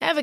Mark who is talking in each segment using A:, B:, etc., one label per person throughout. A: Ever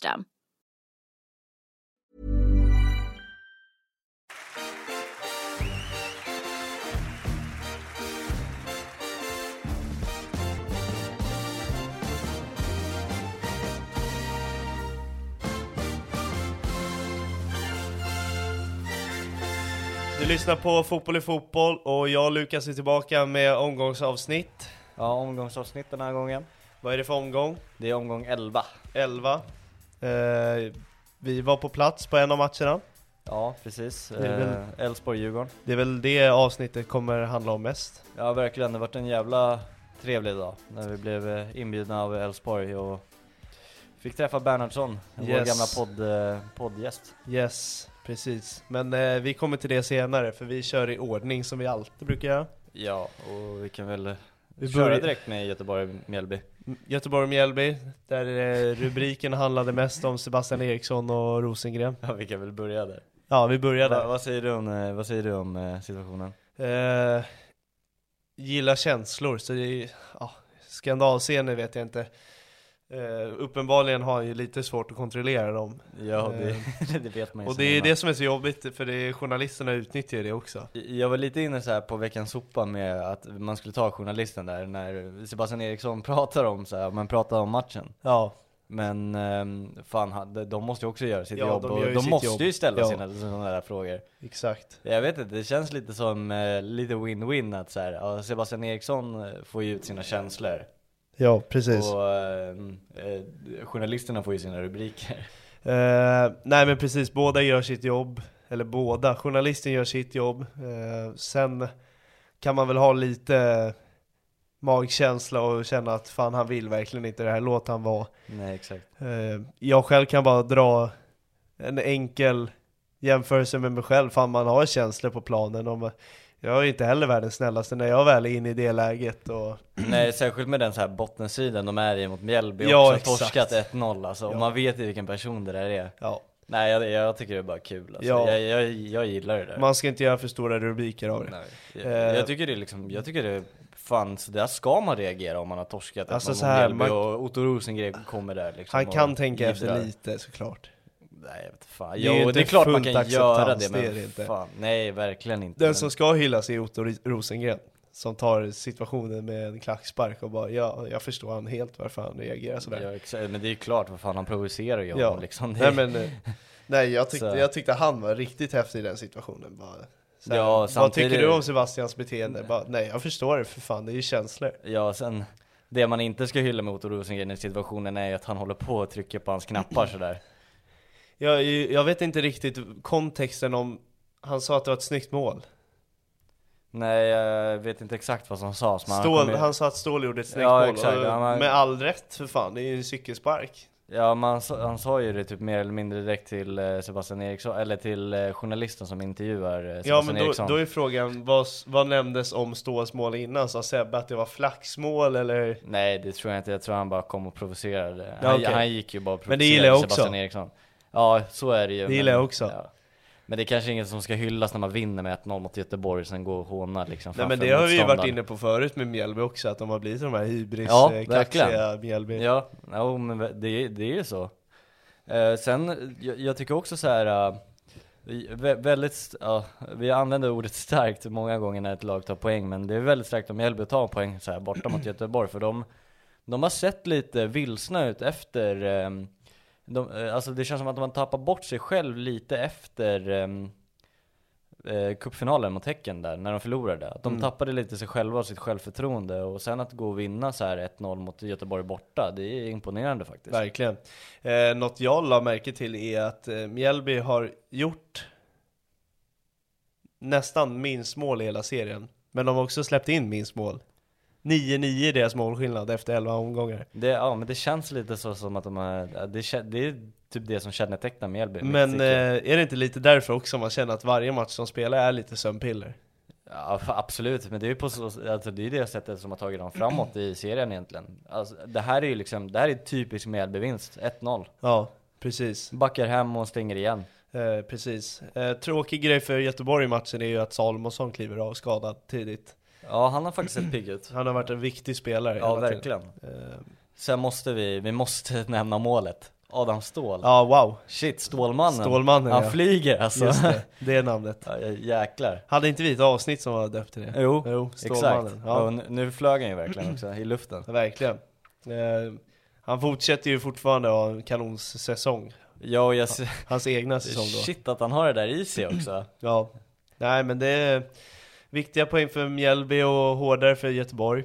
B: Du lyssnar på Fotboll i fotboll och jag och Lukas är tillbaka med omgångsavsnitt.
C: Ja, omgångsavsnitt den här gången.
B: Vad är det för omgång?
C: Det är omgång 11.
B: 11. Eh, vi var på plats på en av matcherna.
C: Ja, precis.
B: Det är väl-
C: Eh, Elfsborg-Djurgården.
B: Det är väl det avsnittet kommer handla om mest.
C: Ja, verkligen. Det varit en jävla trevlig dag när vi blev eh, inbjudna av Elfsborg och fick träffa Bernhardsson, vår
B: Yes.
C: gamla podd, eh, poddgäst.
B: Yes, precis. Men eh, vi kommer till det senare för vi kör i ordning som vi alltid brukar göra.
C: Ja, och vi kan väl
B: Vi
C: köra
B: börjar-
C: direkt med Göteborg-Mjällby.
B: Göteborg-Mjällby, där eh, rubriken handlade mest om Sebastian Eriksson och Rosengren.
C: Ja, vi kan väl börja där.
B: Ja, vi börjar
C: Va,
B: där.
C: vad säger du om, eh, vad säger du om eh, situationen?
B: Eh, gillar känslor, så det är, ja, skandalscener vet jag inte. Eh, uppenbarligen har han ju lite svårt att kontrollera dem.
C: Ja, det,
B: Eh,
C: det vet man ju
B: Och
C: sen
B: det är
C: innan.
B: det som är så jobbigt, för det är, journalisterna utnyttjar ju det också.
C: Jag var lite inne så här på veckans sopa med att man skulle ta journalisten där när Sebastian Eriksson pratar om så här, man pratar om matchen.
B: Ja,
C: Men ehm, fan, ha- de- de måste ju också göra sitt
B: Ja,
C: jobb
B: de
C: och
B: gör ju
C: de
B: sitt
C: måste
B: jobb.
C: ju ställa
B: Ja.
C: sina sådana där frågor.
B: exakt.
C: Jag vet inte, det känns lite som eh, lite win-win att så här, ja, Sebastian Eriksson eh, får ju ut sina känslor
B: Ja, precis.
C: och ehm, eh, journalisterna får ju sina rubriker.
B: Eh, nej men precis, båda gör sitt jobb. Eller båda, journalisten gör sitt jobb. Eh, sen kan man väl ha lite magkänsla och känna att fan han vill verkligen inte det här, låt han vara.
C: Nej exakt.
B: Eh, jag själv kan bara dra en enkel jämförelse med mig själv, fan man har känslor på planen. Om, jag är inte heller världens snällaste när jag väl är inne i det läget. Och,
C: Nej, särskilt med den så här bottensiden de är i mot Mjällby
B: Ja,
C: också,
B: exakt.
C: torskat 1-0 alltså, och
B: Ja.
C: man vet ju vilken person det där är.
B: ja,
C: Nej jag, jag tycker det är bara kul alltså.
B: Ja.
C: jag, jag, jag gillar det där
B: man ska inte göra för stora rubriker av det.
C: Nej.
B: Eh.
C: Jag, jag tycker det är liksom, jag tycker det fan så där ska man reagera om man har torskat
B: Alltså
C: alltså,
B: så
C: mot
B: här,
C: Mjällby
B: man-
C: och Otto Rosengren kommer där liksom
B: Han
C: och
B: kan tänka
C: jiddrar.
B: efter lite såklart.
C: Nej jag vet fan,
B: är
C: jo
B: ju
C: det är,
B: inte
C: klart man
B: fullt
C: kan göra
B: acceptans,
C: det men
B: det är det inte.
C: fan, nej verkligen inte
B: Den
C: Men-
B: som ska hyllas är Otto Ri- Rosengren som tar situationen med en klackspark och bara ja, jag förstår han helt varför han reagerar sådär.
C: ja, exakt, men det är ju klart, vad fan han provocerar ju
B: Ja.
C: honom liksom
B: Nej
C: det,
B: men, eh, nej jag tyckte,
C: Så.
B: jag tyckte han var riktigt häftig i den situationen. Bara, såhär,
C: Ja,
B: vad
C: samtidigt- Mm.
B: tycker du om Sebastians beteende? Bara, nej jag förstår det för fan, det är ju känslor.
C: Ja sen, Det man inte ska hylla med Otto Rosengren i situationen är ju att han håller på och trycker på hans knappar sådär.
B: Jag, jag vet inte riktigt kontexten om han sa att det var ett snyggt mål.
C: Nej, jag vet inte exakt vad som sades. men han
B: Stål,
C: kom ju-
B: han sa att Ståhl gjorde ett snyggt
C: Ja,
B: mål,
C: exakt.
B: och,
C: Ja, men-
B: med all rätt för fan, det är ju en cykelspark.
C: Ja men han, sa- han sa ju det typ mer eller mindre direkt till eh, Sebastian Eriksson, eller till eh, journalisten som intervjuar eh, Sebastian
B: Ja men då,
C: Eriksson.
B: då är frågan, vad, s- vad nämndes om Ståhls mål innan? Sa Sebbe att det var flaxmål eller?
C: Nej det tror jag inte, jag tror han bara kom och provocerade.
B: Ja,
C: han,
B: okej.
C: han gick ju bara och
B: Men det
C: provocerade
B: gillar jag också.
C: Sebastian Eriksson. Ja så är det ju.
B: Det gillar jag också.
C: ja. Men det är kanske inget som ska hyllas när man vinner med 1-0 mot Göteborg, sen går och hånar liksom
B: Nej men
C: framför
B: det har vi ju varit
C: motståndaren.
B: inne på förut med Mjällby också, att de har blivit de här hybris,
C: Ja,
B: eh,
C: verkligen.
B: kaxiga Mjällby.
C: Ja, jo, men ve- det, det är ju så. Eh, sen, jag, jag tycker också så här. eh, vä- väldigt, st- ja, vi använder ordet starkt många gånger när ett lag tar poäng, men det är väldigt starkt om Mjällby tar poäng så här borta mot Göteborg, för de, de har sett lite vilsna ut efter, eh, de, eh, alltså det känns som att de har tappat bort sig själv lite efter um, Eh, cupfinalen mot Häcken där, när de förlorade. Att de tappade lite sig själva och sitt självförtroende. Och sen att gå och vinna så här 1-0 mot Göteborg borta, det är imponerande faktiskt.
B: Verkligen. Eh, något jag la märke till är att eh, Mjällby har gjort nästan minst mål i hela serien. Men de har också släppt in minst mål. 9-9 är deras målskillnad efter 11 omgångar.
C: Det, ja, men det känns lite så som att de har, ja, det, kä- det är typ det som kännetecknar Mjällby.
B: Men
C: Mitt i-
B: eh, är det inte lite därför också man känner att varje match som spelar är lite sömnpiller?
C: Ja, fa- absolut, men det är ju på så, alltså det, är det sättet som har tagit dem framåt i serien egentligen. Alltså, det här är ju liksom, det här är typisk Mjällby-vinst, 1-0.
B: Ja, precis.
C: Backar hem och stänger igen.
B: Eh, precis. Eh, tråkig grej för Göteborg i matchen är ju att Salomonsson kliver av skadad tidigt.
C: Ja, han har faktiskt sett pigg ut.
B: Han har varit en viktig spelare.
C: Ja,
B: hela tiden.
C: verkligen.
B: Eh,
C: Sen måste vi, vi måste nämna målet. Adam Ståhl.
B: ja, wow.
C: Shit, Stålmannen.
B: Stålmannen,
C: Han
B: ja.
C: flyger alltså.
B: Just det, det är namnet.
C: Ja, jäklar.
B: Hade inte vi ett avsnitt som var döpt till det?
C: Jo, exakt.
B: Stålmannen.
C: Ja.
B: Ja,
C: nu- nu flög han ju verkligen också i luften.
B: verkligen. Eh, han fortsätter ju fortfarande ha en kanonssäsong.
C: Ja, och jag ser,
B: Hans egna säsong då.
C: shit att han har det där i sig också.
B: Ja. Nej men det är viktiga poäng för Mjällby och hårdare för Göteborg.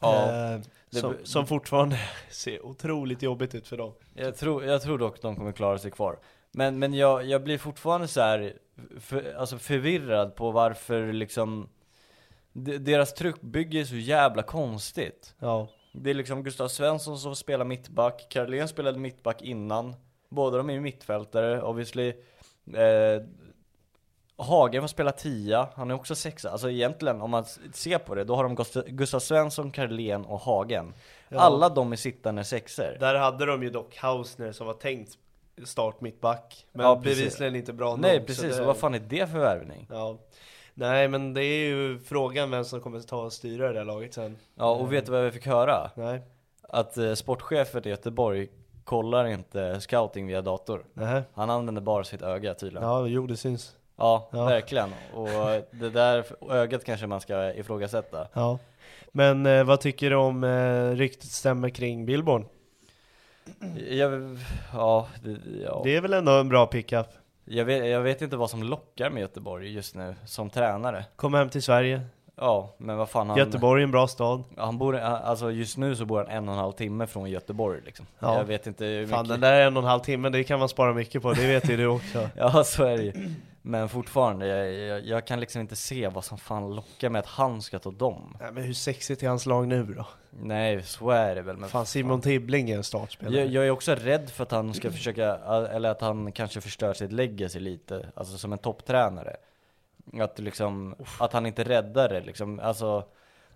C: Ja,
B: Eh,
C: det-
B: som, som fortfarande ser otroligt jobbigt ut för dem.
C: jag, tror, jag tror dock de kommer klara sig kvar. Men, men jag, jag blir fortfarande så här, för, alltså förvirrad på varför liksom de- deras truppbygge är så jävla konstigt.
B: Ja.
C: Det är liksom Gustav Svensson som spelar mittback, Karolén spelade mittback innan. Båda de är ju mittfältare obviously. Eh, Hagen får spela tia, han är också sexa. Alltså egentligen om man s- ser på det, då har de Gust- Gustav Svensson, Karolén och Hagen. Alla de är sittande sexer.
B: Där hade de ju dock Hausner som var tänkt start mittback. Men
C: Ja, precis.
B: bevisligen inte bra
C: Nej
B: nog, så
C: precis,
B: det-
C: och vad fan är det för värvning?
B: Ja. Nej men det är ju frågan vem som kommer ta och styra det där laget sen.
C: Ja och vet du vad vi fick höra?
B: Nej.
C: Att eh, sportchefen i Göteborg kollar inte scouting via dator.
B: Nähä.
C: Han använder bara sitt öga tydligen.
B: Ja, jo det syns.
C: Ja,
B: Ja.
C: verkligen. Och det där ögat kanske man ska ifrågasätta.
B: Ja. Men eh, vad tycker du om eh, ryktet stämmer kring Billborn?
C: Jag, ja, det, ja.
B: Det är väl ändå en bra pickup?
C: Jag, vet, jag vet inte vad som lockar med Göteborg just nu som tränare.
B: Kom hem till Sverige.
C: Ja, men vad fan han...
B: Göteborg är en bra stad.
C: Han bor, alltså just nu så bor han en och en halv timme från Göteborg liksom.
B: Ja.
C: Jag vet inte hur mycket...
B: Fan den där en och en halv timme, det kan man spara mycket på, det vet ju du också.
C: Ja, så är det ju. Men fortfarande, jag, jag, jag kan liksom inte se vad som fan lockar med att han ska ta dem.
B: Nej men hur sexigt är hans lag nu då?
C: Nej, så är det väl. Men
B: Fan Simon Tibbling är en startspelare.
C: Jag, jag är också rädd för att han ska försöka, eller att han kanske förstör sitt legacy lite, alltså som en topptränare. Att liksom, att han inte räddar det liksom. Alltså,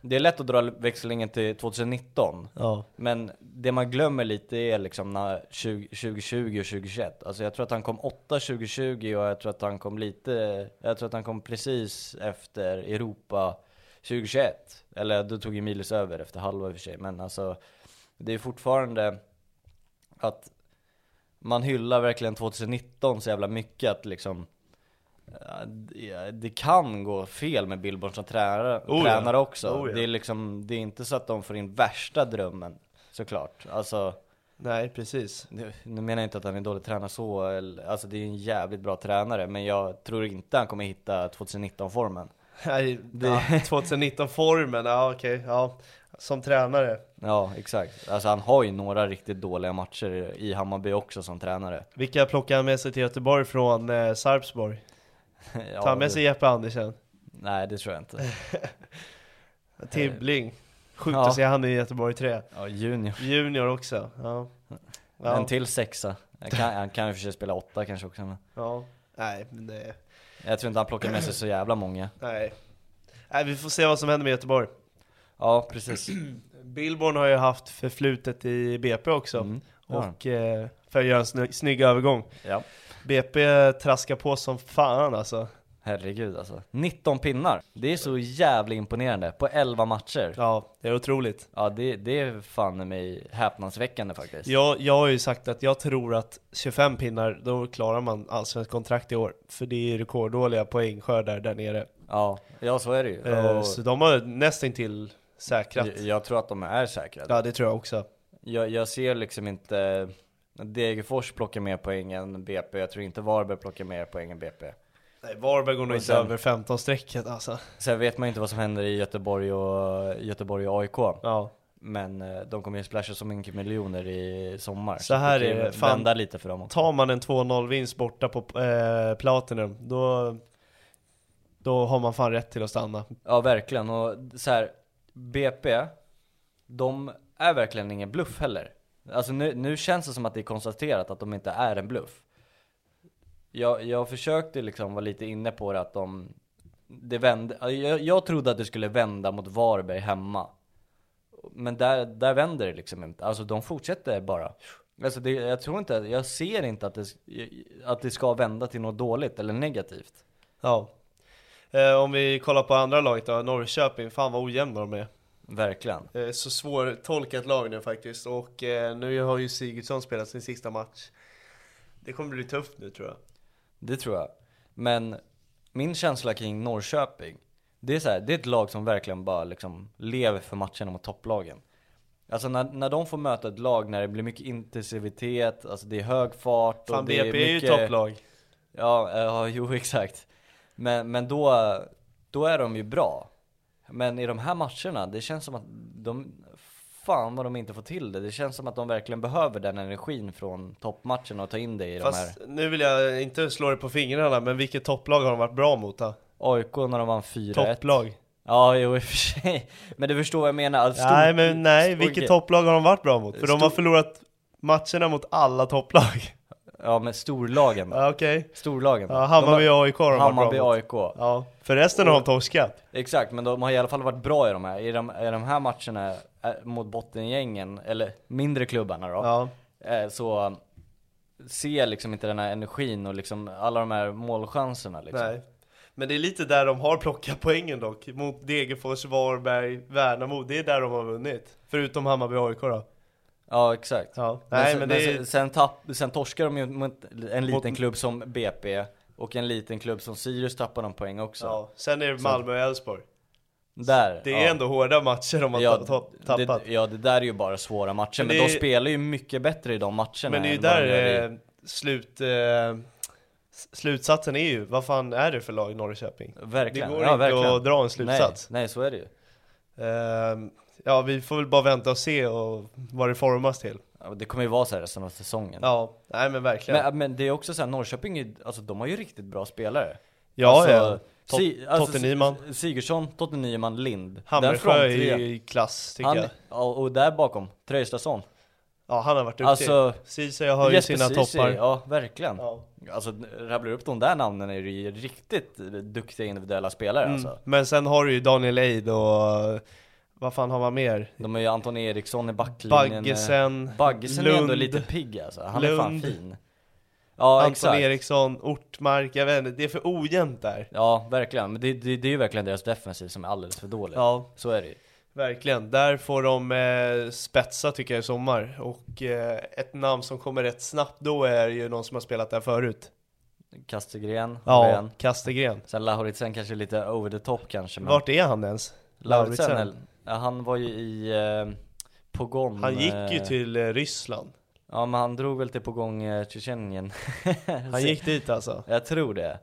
C: det är lätt att dra växlingen till 2019,
B: Ja.
C: men det man glömmer lite är liksom när 20, 2020 och 2021. Alltså jag tror att han kom 8 2020 och jag tror att han kom lite, jag tror att han kom precis efter Europa 2021. Eller då tog Emilius över efter halva i och för sig, men alltså det är fortfarande att man hyllar verkligen 2019 så jävla mycket att liksom ja, det- det kan gå fel med Billborn som tränare,
B: Oh ja.
C: tränare också.
B: Oh ja.
C: Det är liksom, det är inte så att de får in värsta drömmen såklart. Alltså,
B: Nej precis.
C: nu nu menar jag inte att han är dålig tränare så, eller- alltså det är en jävligt bra tränare, men jag tror inte han kommer hitta 2019-formen.
B: Nej,
C: Det-
B: ja, 2019-formen, ja okej, ja. Som tränare.
C: Ja, exakt. Alltså han har ju några riktigt dåliga matcher i- i Hammarby också som tränare.
B: Vilka plockar han med sig till Göteborg från eh, Sarpsborg?
C: Ja,
B: Tar han med
C: det-
B: sig Jeppe Andersen?
C: Nej, det tror jag inte.
B: Tibbling? Sjukt
C: Eh, Ja.
B: att se han i Göteborg 3.
C: Ja, junior.
B: Junior också, ja. Ja,
C: En till sexa. Han kan, han kan ju för sig spela åtta kanske också. Men
B: ja. Nej, men det...
C: jag tror inte han plockar med sig så jävla många.
B: Nej. Nej, vi får se vad som händer med Göteborg.
C: Ja, precis.
B: Billborn har ju haft förflutet i BP också.
C: Mm. Ja.
B: Och eh, för att göra en snygg, snygg övergång.
C: ja,
B: BP traskar på som fan alltså.
C: herregud alltså. 19 pinnar. Det är så jävla imponerande på 11 matcher.
B: Ja, det är otroligt.
C: Ja, det, det är fan mig häpnadsväckande faktiskt.
B: Jag, jag har ju sagt att jag tror att 25 pinnar, då klarar man allsvenskt kontrakt i år. För det är ju rekorddåliga poängskördar där nere.
C: Ja, ja så är det ju.
B: Eh,
C: Och
B: så de har nästintill säkrat.
C: jag, jag tror att de är säkrade.
B: Ja, det tror jag också.
C: Jag, jag ser liksom inte Degerfors plocka mer poäng än BP, jag tror inte Varberg plockar mer poäng än BP.
B: Nej, Varberg går nog
C: Och
B: inte
C: sen-
B: över 15-strecket alltså.
C: Sen vet man ju inte vad som händer i Göteborg och, Göteborg och AIK,
B: Ja.
C: men eh, de kommer ju splasha så mycket miljoner i sommar.
B: Så här
C: det kan
B: är
C: ju
B: det, fan.
C: vända lite för dem också.
B: Tar man en 2-0-vinst borta på eh, Platinum, då, då har man fan rätt till att stanna.
C: Ja verkligen, och så här, BP, de är verkligen ingen bluff heller. Alltså nu, nu känns det som att det är konstaterat att de inte är en bluff. Jag, jag försökte liksom vara lite inne på det att de, det vände, jag, jag trodde att det skulle vända mot Varberg hemma. Men där, där vänder det liksom inte, alltså de fortsätter bara. Alltså det, jag tror inte, jag ser inte att det, att det ska vända till något dåligt eller negativt.
B: Ja. Eh, om vi kollar på andra laget då, Norrköping, fan vad ojämna de är.
C: Verkligen.
B: Eh, så svårtolkat lag nu faktiskt, och eh, nu har ju Sigurdsson spelat sin sista match. Det kommer bli tufft nu tror jag.
C: Det tror jag. Men min känsla kring Norrköping, det är så här, det är ett lag som verkligen bara liksom lever för matcherna mot topplagen. Alltså när, när de får möta ett lag när det blir mycket intensivitet, alltså det är hög fart
B: Fan,
C: det
B: BP är ju topplag.
C: Ja, eh, ja jo exakt. Men, men då, då är de ju bra. Men i de här matcherna, det känns som att de, fan vad de inte får till det. Det känns som att de verkligen behöver den energin från toppmatchen och ta in det i de här.
B: Fast nu vill jag inte slå dig på fingrarna, men vilket topplag har de varit bra mot då?
C: AIK när de vann 4-1.
B: Topplag?
C: Ja, jo i och för sig. Men du förstår vad jag menar. Alltså, stor-
B: nej, men nej,
C: stor
B: vilket
C: gre-
B: topplag har de varit bra mot? För de har
C: Stor-
B: förlorat matcherna mot alla topplag.
C: Ja, men storlagen då.
B: Ja, Okej.
C: Storlagen då.
B: Ja, Hammarby
C: De
B: och AIK har
C: har-
B: de varit
C: Hammarby
B: bra mot.
C: AIK.
B: Ja, för resten har de torskat.
C: Exakt, men de har i alla fall varit bra i de här, i de, i de här matcherna eh, mot bottengängen, eller mindre klubbarna då.
B: Ja.
C: Eh, Så um, ser jag liksom inte den här energin och liksom alla de här målchanserna liksom.
B: Nej. Men det är lite där de har plockat poängen dock. Mot Degerfors, Varberg, Värnamo. Det är där de har vunnit. Förutom Hammarby AIK då.
C: Ja, exakt.
B: Ja.
C: Men,
B: Nej,
C: sen,
B: men det är...
C: sen, sen, tapp, sen torskar de ju mot en liten
B: Mot-
C: klubb som BP och en liten klubb som Sirius tappar de poäng också.
B: Ja. Sen är det Malmö och Elfsborg.
C: Där,
B: Det är
C: ja.
B: ändå hårda matcher de har
C: Ja,
B: tapp- tapp- tappat.
C: det, ja, det där är ju bara svåra matcher,
B: Men
C: men,
B: det
C: de
B: är-
C: spelar ju mycket bättre i de matcherna
B: Men det är ju
C: än vad de gör
B: där
C: i-
B: eh, slut, eh, s- slutsatsen är ju, vad fan är det för lag Norrköping?
C: Verkligen.
B: Det går
C: ja,
B: inte
C: verkligen.
B: att dra en slutsats.
C: Nej, nej så är det ju.
B: Ehm, ja, vi får väl bara vänta och se och vad det formas till.
C: Ja, Det kommer ju vara så här resten av säsongen.
B: Ja, nej men verkligen.
C: men, men det är också så här, Norrköping, är- alltså de har ju riktigt bra spelare.
B: ja,
C: alltså,
B: ja. Tot-
C: Si- alltså,
B: Totte Nyman.
C: S- Sigurdsson, Totte Nyman, Lind. Den
B: Hammersjö är
C: frontlinjen.
B: ju i klass tycker
C: han,
B: jag.
C: ja, Och där bakom, Tröjestason.
B: Ja, han har varit duktig.
C: Alltså,
B: Ceesay har ju sina
C: Ceesay,
B: toppar.
C: Ja, verkligen.
B: Ja.
C: Alltså, rabblar du upp de där namnen är det ju riktigt duktiga individuella spelare
B: Mm.
C: alltså.
B: Men sen har du ju Daniel Eid och vad fan har man mer?
C: De har ju Anton Eriksson i backlinjen.
B: Baggesen,
C: eh, Baggesen är ändå
B: Lund.
C: lite pigg alltså. Han är fan
B: Lund.
C: fin. Ja,
B: Anton
C: exakt.
B: Eriksson, Ortmark, jag vet inte, det är för ojämnt där.
C: Ja, verkligen. Men det, det, det är ju verkligen deras defensiv som är alldeles för dålig.
B: Ja,
C: Så är det ju.
B: verkligen. Där får de eh, spetsa tycker jag i sommar. Och eh, ett namn som kommer rätt snabbt då är ju någon som har spelat där förut.
C: Kastegren,
B: Ja,
C: Ren.
B: Kastegren.
C: Sen Lauritsen kanske är lite over the top kanske. Men
B: Vart är han ens?
C: Lauritsen,
B: Lauritsen?
C: eller- ja, han var ju i eh, Pogon.
B: Han gick ju
C: eh,
B: till eh, Ryssland.
C: Ja, men han drog väl till Pogon eh, Tjetjenien.
B: Han gick dit alltså.
C: Jag tror det.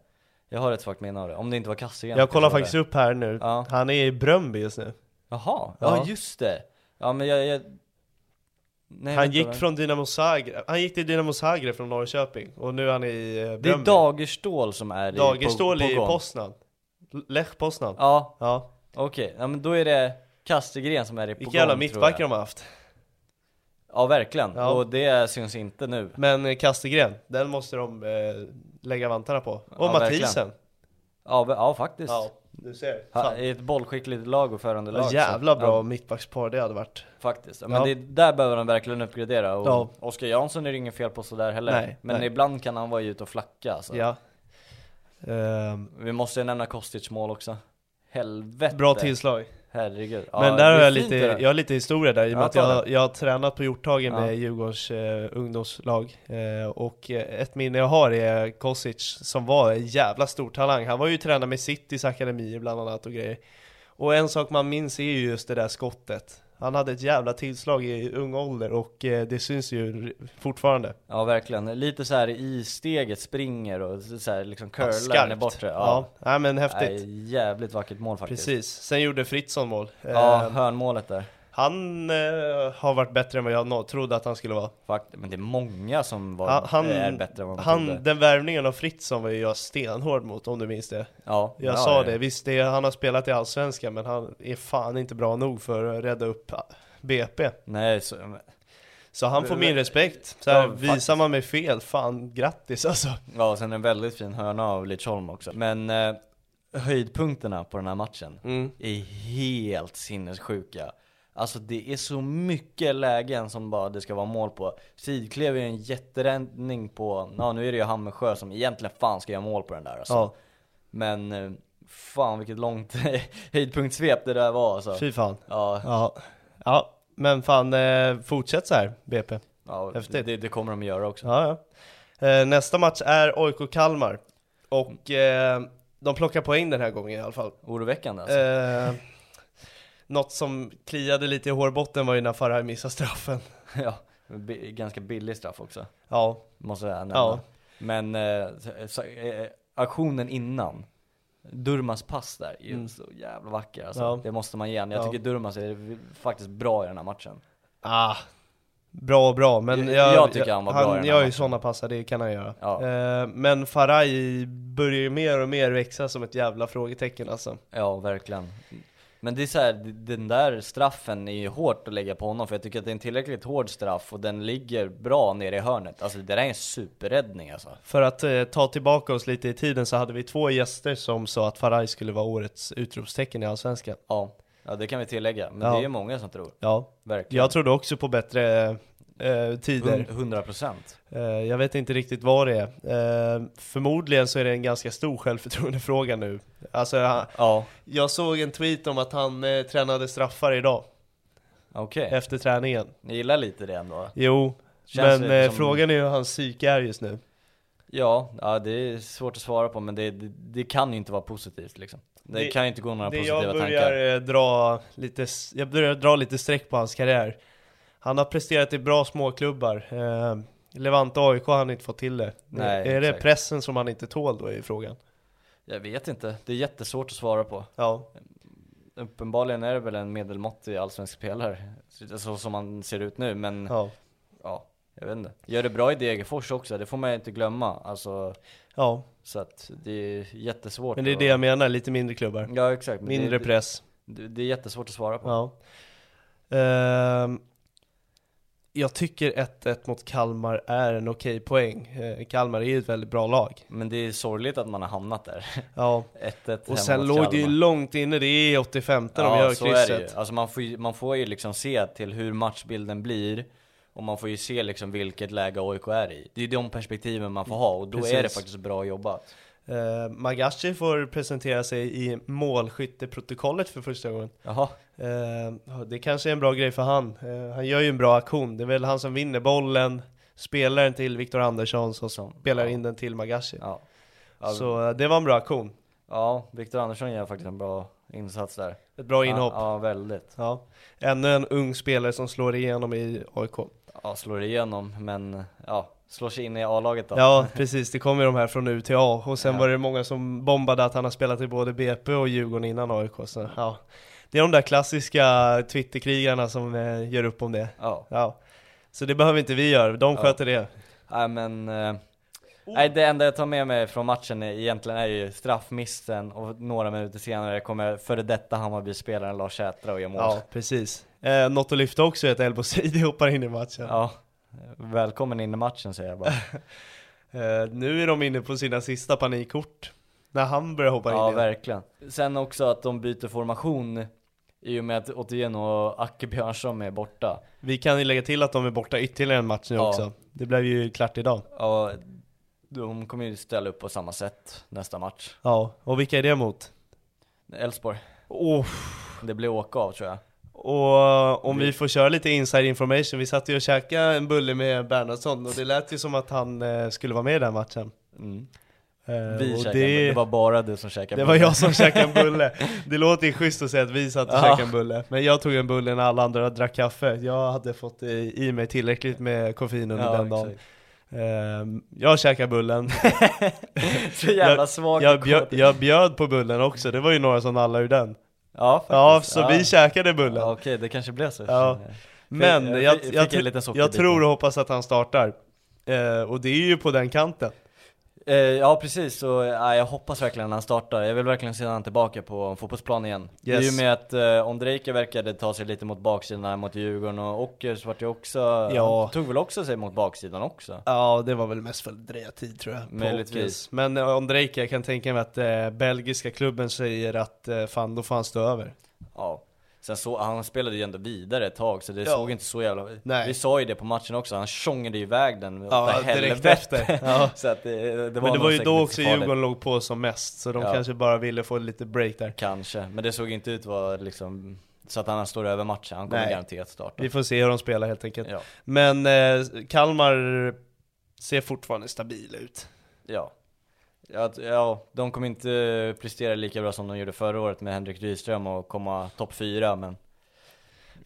C: Jag har ett svagt minne av det, om det inte var Kassigan
B: Jag kollar
C: kanske
B: faktiskt
C: det.
B: upp här nu,
C: Ja.
B: han är i Bröndby just nu
C: Jaha, ja.
B: Ja.
C: just det! Ja men jag... jag... Nej,
B: Han
C: vänta,
B: gick
C: vänta.
B: från Dynamo Zagreb, han gick till Dynamo Zagreb från Norrköping och nu är han i eh,
C: Det är
B: Bröndby
C: Dagerstål som är i-
B: Dagerstål
C: på, på
B: i
C: gång.
B: Poznan Lech Poznan ja.
C: Ja, okej, ja, men då är det Kastegren som är i på
B: Vilka jävla
C: gång, tror
B: mittbackar
C: jag.
B: de har haft
C: Ja verkligen,
B: Ja.
C: och det syns inte nu
B: Men eh, Kastegren, den måste de eh, lägga vantarna på Och
C: Ja,
B: Mathisen
C: Ja, ve- ja faktiskt
B: Ja, du ser
C: Ha, eh,
B: Fan.
C: I ett bollskickligt lag och förhandelag
B: Vad
C: så-
B: jävla bra
C: ja,
B: mittbackspar det hade varit
C: Faktiskt, ja, men
B: Ja.
C: Det, där behöver de verkligen uppgradera och
B: Ja.
C: Oskar Jansson är det ingen fel på sådär heller
B: Nej,
C: Men
B: nej.
C: ibland kan han vara ute och flacka alltså.
B: Ja Ehm,
C: Vi måste ju nämna Kostic mål också Helvete!
B: Bra tillslag
C: Herregud Ja,
B: Men
C: det
B: där
C: är
B: har jag
C: fint
B: lite,
C: det där.
B: jag har lite historia där i och med
C: Ja,
B: att
C: ta
B: jag, jag har tränat på Hjorthagen
C: Ja.
B: med Djurgårdens eh, ungdomslag eh, Och eh, ett minne jag har är Kosic som var en jävla stor talang Han var ju tränare med Citys akademi bland annat och grejer Och en sak man minns är ju just det där skottet Han hade ett jävla tillslag i ung ålder och eh, det syns ju r- fortfarande
C: Ja verkligen, lite så här i steget springer och så här liksom curlar
B: Skarpt.
C: den är bortre
B: Ja, nej men häftigt
C: Nej, jävligt vackert mål faktiskt
B: Precis, sen gjorde Fritzson mål
C: Ja,
B: Eh,
C: hörnmålet där
B: Han eh, har varit bättre än vad jag nå- trodde att han skulle vara
C: Fakt, men det är många som var,
B: Han, han,
C: är bättre än vad man
B: han,
C: trodde.
B: den värvningen av Fritzson var ju jag stenhård mot om du minns det.
C: Ja,
B: Jag
C: ja,
B: sa
C: ja.
B: det, visst det, är- han har spelat i Allsvenskan men han är fan inte bra nog för att rädda upp BP.
C: Nej, så, men-
B: Så han får
C: Men-
B: min respekt. Så här,
C: Ja,
B: visar man mig fel, fan grattis alltså.
C: ja, och sen en väldigt fin hörna av Lidsholm också. Men eh, höjdpunkterna på den här matchen
B: Mm.
C: är helt sinnessjuka. Alltså det är så mycket lägen som bara det ska vara mål på. Sidklev är ju en jätteräddning på, ja nu är det ju Hammersjö som egentligen fan ska göra mål på den där alltså.
B: Ja,
C: Men eh, fan vilket långt höjdpunktssvep det där var alltså.
B: fy fan.
C: Ja,
B: Ja. ja, men fan eh, fortsätt så här BP.
C: ja
B: Häftigt. Eh.
C: det, det kommer de göra också.
B: Ja, ja. Eh, nästa match är AIK-Kalmar. Och eh, de plockar poäng den här gången i alla fall.
C: Oroväckande alltså.
B: Eh, något som kliade lite i hårbotten var ju när Faraj missade straffen.
C: Ja, bi- ganska billig straff också.
B: Ja,
C: Måste jag nämna.
B: Ja.
C: Men eh, så- så, eh, aktionen innan. Durmas pass där, är ju
B: Mm.
C: så jävla vacker alltså.
B: Ja.
C: Det måste man ge han. Jag
B: Ja.
C: tycker Durmas är v- faktiskt bra i den här matchen.
B: ah, bra och bra, men
C: Jag-
B: jag,
C: jag tycker han var bra i den här
B: gör ju
C: matchen.
B: sådana passar, det kan han göra.
C: Ja.
B: Eh, men Faraj börjar ju mer och mer växa som ett jävla frågetecken alltså.
C: Ja, verkligen. Men det är så här, d- den där straffen är ju hårt att lägga på honom för jag tycker att det är en tillräckligt hård straff och den ligger bra nere i hörnet. Alltså det där är en superräddning alltså.
B: För att eh, ta tillbaka oss lite i tiden så hade vi två gäster som sa att Faraj skulle vara årets utropstecken i Allsvenskan.
C: Ja, ja det kan vi tillägga. Men
B: Ja.
C: det är ju många som tror.
B: Ja,
C: Verkligen.
B: jag trodde också på bättre eh, tider.
C: Hund- 100%.
B: Eh, Jag vet inte riktigt vad det är. Eh, Förmodligen så är det en ganska stor självförtroendefråga nu. Alltså, han-
C: Ja,
B: jag såg en tweet om att han eh, tränade straffar idag,
C: okej.
B: efter träningen.
C: Ni gillar lite det ändå?
B: Jo,
C: Känns
B: men
C: lite
B: eh,
C: som-
B: frågan är hur hans psyke är just nu.
C: Ja, ja, det är svårt att svara på men det, det, det kan ju inte vara positivt liksom. Det,
B: Det-
C: kan ju inte gå några
B: Det
C: positiva
B: jag,
C: tankar.
B: börjar eh, dra lite, s- jag börjar dra lite streck på hans karriär. Han har presterat i bra småklubbar. Eh, Levante AIK har han inte fått till det.
C: Nej,
B: är det
C: exakt.
B: pressen som han inte tål då i frågan?
C: Jag vet inte, det är jättesvårt att svara på.
B: Ja,
C: Uppenbarligen är det väl en medelmåttig allsvensk spelare, så, så som han ser ut nu men ja.
B: ja,
C: jag vet inte. Gör det bra i Degerfors också, det får man ju inte glömma. Alltså,
B: ja.
C: så att det är jättesvårt.
B: Men det är
C: att-
B: det jag menar, lite mindre klubbar.
C: Ja exakt, men
B: Mindre
C: det,
B: press.
C: det, det är jättesvårt att svara på.
B: Ja. Ehm, jag tycker 1-1 mot Kalmar är en okej poäng. Eh, Kalmar är ju ett väldigt bra lag.
C: Men det är sorgligt att man har hamnat där.
B: Ja.
C: 1-1 hemma
B: Och sen
C: mot
B: låg det ju
C: Kalmar.
B: långt inne, det är 85 de gör
C: så är det ju.
B: krysset.
C: Alltså man, får ju, man får ju liksom se till hur matchbilden blir och man får ju se liksom vilket läge AIK är i. Det är ju de perspektiven man får ha och då är det
B: Precis.
C: faktiskt bra jobbat.
B: Eh, Magashi får presentera sig i målskytteprotokollet för första gången.
C: Jaha,
B: Eh, det kanske är en bra grej för han. Eh, han gör ju en bra aktion. Det är väl han som vinner bollen, spelar den till Viktor Andersson som
C: Som-
B: spelar
C: ja.
B: in den till Magashi.
C: ja. Ja,
B: Så eh, det var en bra aktion.
C: ja Viktor Andersson gör faktiskt en bra insats där.
B: Ett bra inhopp.
C: Ja, ja, väldigt.
B: Ja, ännu en ung spelare som slår igenom i AIK.
C: Ja, slår igenom men ja, slår sig in i A-laget då.
B: Ja, precis. Det kom ju de här från U till A. Och sen
C: Ja.
B: var det många som bombade att han har spelat i både BP och Djurgården innan AIK. Så, ja. Det är de där klassiska Twitterkrigarna som eh, gör upp om det.
C: Ja.
B: Ja. Så det behöver inte vi göra, de
C: Ja.
B: sköter det.
C: Nej men... eh, Nej det enda jag tar med mig från matchen är, egentligen är ju straffmissen och några minuter senare kommer före detta Hammarby-spelaren Lars Sätra och gör mål.
B: Ja, precis. Eh, något att lyfta också är att El Bouzidi hoppar in i matchen.
C: Ja. Välkommen in i matchen säger jag bara.
B: Eh, nu är de inne på sina sista panikkort. När han börjar hoppa
C: Ja
B: in igen.
C: verkligen. Sen också att de byter formation i och med att Otieno och Acke Björnsson är borta.
B: Vi kan ju lägga till att de är borta ytterligare en match nu
C: Ja.
B: också. Det blev ju klart idag.
C: Ja, de kommer ju ställa upp på samma sätt nästa match.
B: Ja, och vilka är det mot?
C: Elfsborg.
B: Oh,
C: Det blir åka av tror jag.
B: Och eh, om vi får köra lite inside information, vi satt ju och käkade en bulle med Bernhardsson och det lät ju som att han eh, skulle vara med i den matchen.
C: Mm.
B: Eh,
C: Vi
B: och
C: käkade,
B: det,
C: det... det var bara du som käkade.
B: det var jag som käkade en bulle. Det låter ju schysst att säga att vi satt och
C: Ja.
B: käkade en bulle, men jag tog en bulle när alla andra drack kaffe. Jag hade fått i, i mig tillräckligt med koffein under
C: Ja,
B: den dagen.
C: exakt.
B: Eh, jag käkade bullen,
C: Så jävla
B: Jag-
C: svag
B: jag
C: och
B: bjöd,
C: kåt.
B: jag bjöd på bullen också, det var ju några som nallade ur den.
C: Ja, faktiskt.
B: Ja, så vi käkade
C: Ja,
B: bullen.
C: Okej, det kanske blev så.
B: Ja. Men
C: Fick-
B: jag,
C: jag
B: jag,
C: fick-
B: jag,
C: fick en liten
B: jag
C: sockerbit.
B: tror och hoppas att han startar. Eh, och det är ju på den kanten.
C: Eh, ja, precis. Så ja, jag hoppas verkligen han startar. Jag vill verkligen se honom tillbaka på fotbollsplanen igen.
B: Yes.
C: I och med att eh, Ondrejka verkade ta sig lite mot baksidan här mot Djurgården och Ockers vart ju också...
B: Ja.
C: Han tog väl också sig mot baksidan också?
B: Ja, det var väl mest för att dreja tid tror jag. på
C: Möjligtvis.
B: Hopkins. Men eh, Ondrejka, jag kan tänka mig att eh, belgiska klubben säger att eh, fan, då får han stå över.
C: Ja. Sen så, han spelade ju ändå vidare ett tag så det
B: Ja.
C: såg inte så jävla...
B: Nej.
C: Vi sa ju det på matchen också, han tjongade ju iväg den
B: Ja,
C: åt
B: direkt
C: helvete.
B: efter. Ja.
C: Så att eh, det, det var
B: Men det
C: nog
B: var ju
C: säkert
B: då
C: inte
B: också
C: så farligt.
B: Djurgården låg på som mest, så de
C: Ja.
B: kanske bara ville få lite break där.
C: Kanske, men det såg inte ut var liksom så att han står över matchen, han kommer
B: Nej.
C: garanterat starta.
B: Vi får se hur de spelar helt enkelt.
C: Ja,
B: Men eh, Kalmar ser fortfarande stabil ut.
C: ja. Ja, att- ja, de kommer inte prestera lika bra som de gjorde förra året med Henrik Rydström och komma topp fyra, men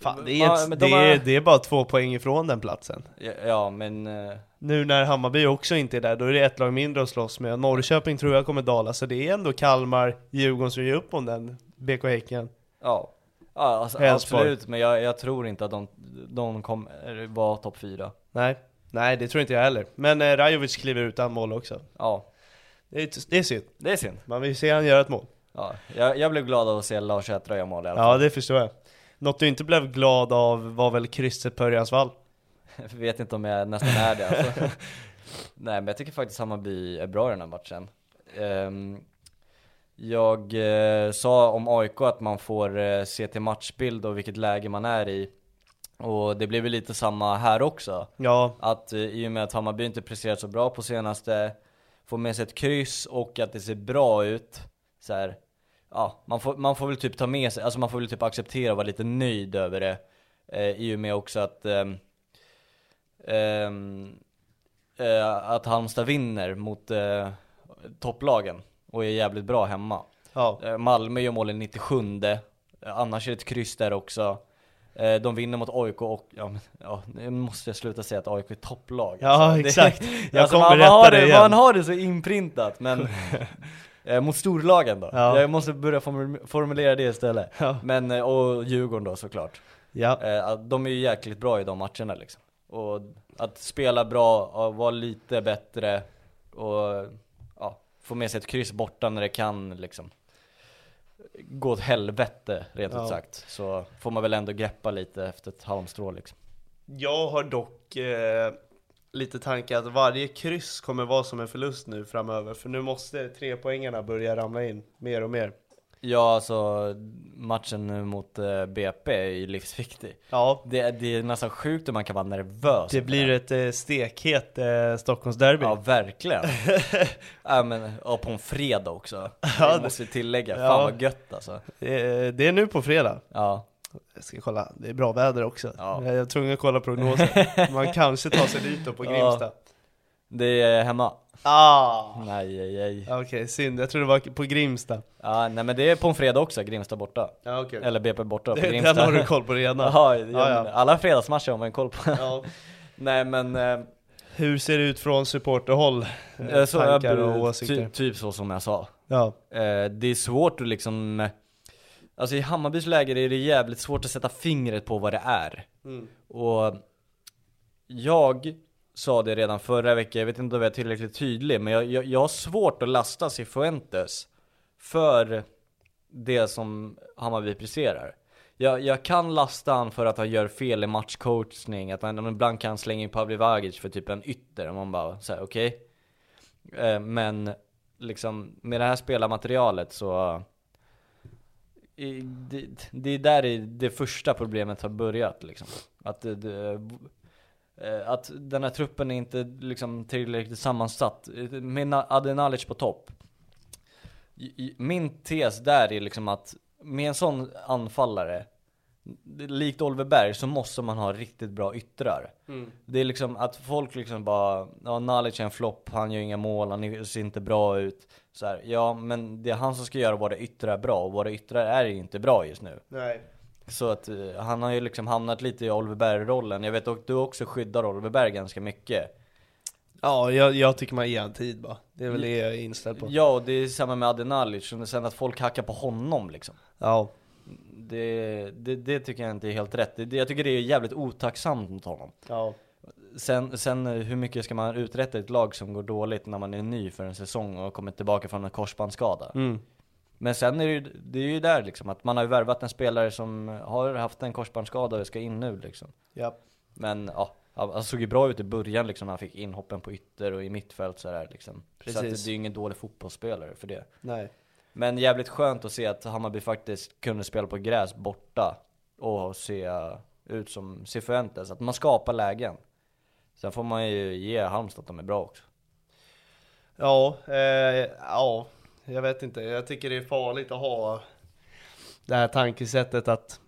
B: Fan, det,
C: Ja,
B: är ett,
C: men
B: det,
C: de
B: är,
C: har-
B: det är bara två poäng ifrån den platsen.
C: ja, ja men eh,
B: Nu när Hammarby också inte är där, då är det ett lag mindre att slåss med. Norrköping tror jag kommer dala, så det är ändå Kalmar, Djurgården som ger upp om den, BK Häcken.
C: ja. Ja, alltså,
B: Elfsborg.
C: absolut, men jag, jag tror inte att de, de kommer vara topp fyra.
B: Nej, nej det tror inte jag heller. Men eh, Rajovic kliver utan mål också.
C: Ja,
B: Det är, det är synd,
C: det är synd.
B: man vill ju se han göra ett mål.
C: Ja, jag, jag blev glad av att se Lars Sätra göra mål i alla fall.
B: Ja, det förstår jag. Något du inte blev glad av var väl krysset på Örjans vall.
C: Vet inte om jag nästan är det alltså. Nej men jag tycker faktiskt Hammarby är bra i den här matchen. Ehm, jag eh, sa om AIK att man får eh, se till matchbild och vilket läge man är i. Och det blir väl lite samma här också.
B: Ja,
C: Att eh, i och med att Hammarby inte presterat så bra på senaste, får med sig ett kryss och att det ser bra ut. Så här, ja, man, får, man får väl typ ta med sig, alltså man får väl typ acceptera och vara lite nöjd över det. Eh, I och med också att, ehm, ehm, eh, att Halmstad vinner mot eh, topplagen och är jävligt bra hemma.
B: ja.
C: Eh, Malmö gör mål i 97 eh, Annars är det ett kryss där också Eh, De vinner mot AIK och, ja, men, ja nu måste jag sluta säga att AIK är topplag Alltså,
B: Ja,
C: det-
B: exakt. Jag kommer
C: man, man
B: rätta
C: har
B: dig
C: det,
B: igen.
C: man har det så inprintat men eh, Mot storlagen då,
B: Ja.
C: jag måste börja formu- formulera det istället
B: Ja.
C: Men, eh, och Djurgården då såklart
B: ja.
C: Eh, att De är ju jäkligt bra i de matcherna liksom Och att spela bra, ja, vara lite bättre och ja, få med sig ett kryss borta när det kan liksom gå åt helvete rent ut
B: Ja.
C: sagt. Så får man väl ändå greppa lite efter ett halmstrå liksom.
B: Jag har dock eh, lite tanke att varje kryss kommer vara som en förlust nu framöver, för nu måste tre poängarna börja ramla in mer och mer.
C: Ja alltså matchen nu mot eh, BP är ju livsviktig.
B: Ja,
C: Det, är- det är nästan sjukt hur man kan vara nervös.
B: Det
C: inför
B: blir
C: här.
B: ett eh, stekhet eh, Stockholmsderby.
C: Ja verkligen. ja, men, ja, på en fredag också.
B: Ja,
C: det måste vi tillägga. Fan
B: ja.
C: vad gött alltså.
B: Eh, det är nu på fredag.
C: Ja.
B: Jag ska kolla, det är bra väder också.
C: Ja.
B: Jag är tvungen att kolla prognosen. Man kanske tar sig dit då på
C: Ja.
B: Grimsta.
C: Det är hemma.
B: Ah!
C: Nej, nej, nej.
B: Okej, synd. Jag tror det var på Grimsta.
C: Ja, nej men det är på en fredag också, Grimsta borta.
B: Ja, okej.
C: Eller BP borta på
B: Den
C: Grimsta.
B: har du koll på redan.
C: Ja, ja,
B: Ja, ja.
C: men Alla fredagsmatcher har man koll på.
B: Ja.
C: Nej men, eh,
B: Hur ser det ut från supporterhåll?
C: Eh, Så, eh,
B: Tankar och åsikter.
C: Typ, typ så som jag sa.
B: Ja,
C: Eh, det är svårt att liksom eh, Alltså i Hammarbys läger är det jävligt svårt att sätta fingret på vad det är
B: Mm.
C: Och Jag sa det redan förra veckan, jag vet inte om jag är tillräckligt tydlig Men jag, jag, jag har svårt att lasta Cifuentes För det som Hammarby presterar jag, jag kan lasta han för att han gör fel i matchcoachning Att han ibland kan slänga in Pavlivagic för typ en ytter Och man bara säger okej Eh, Men liksom med det här spelarmaterialet så i- det, det är där i- det första problemet har börjat liksom. Att, det, det, eh, att den här truppen är inte liksom tillräckligt sammansatt. Med Na- Adenalic på topp. I- i- Min tes där är liksom att med en sån anfallare, likt Oliver Berg, så måste man ha riktigt bra yttrar. Det är liksom att folk liksom bara, ja Nalic är en flopp, han gör inga mål, han ser inte bra ut. Så här, ja men det är han som ska göra våra yttrar bra och våra yttrar är ju inte bra just nu.
B: nej.
C: Så att eh, han har ju liksom hamnat lite i Oliver Berg-rollen. Jag vet att du också skyddar Oliver Berg ganska mycket.
B: Ja, jag, jag tycker man ger han tid bara. Det är väl det jag är inställd på.
C: Mm. Ja och det är samma med Adenalic, och sen att folk hackar på honom liksom.
B: Ja,
C: Det, det, det tycker jag inte är helt rätt. Det, det- jag tycker det är jävligt otacksamt mot honom.
B: ja.
C: Sen, sen eh, hur mycket ska man uträtta i ett lag som går dåligt när man är ny för en säsong och har kommit tillbaka från en korsbandsskada?
B: Mm.
C: Men sen är det, ju- det är ju där liksom att man har ju värvat en spelare som har haft en korsbandsskada och ska in nu liksom.
B: ja.
C: Men ja, han han såg ju bra ut i början liksom när han fick inhoppen på ytter och i mittfält sådär liksom. Så att det,
B: Precis.
C: det är ju ingen dålig fotbollsspelare för det.
B: Nej.
C: Men jävligt skönt att se att Hammarby faktiskt kunde spela på gräs borta och se ut som Cifuentes, att man skapar lägen. Sen får man ju ge Halmstad att de är bra också.
B: Ja, eh, ja, jag vet inte. Jag tycker det är farligt att ha det här tankesättet att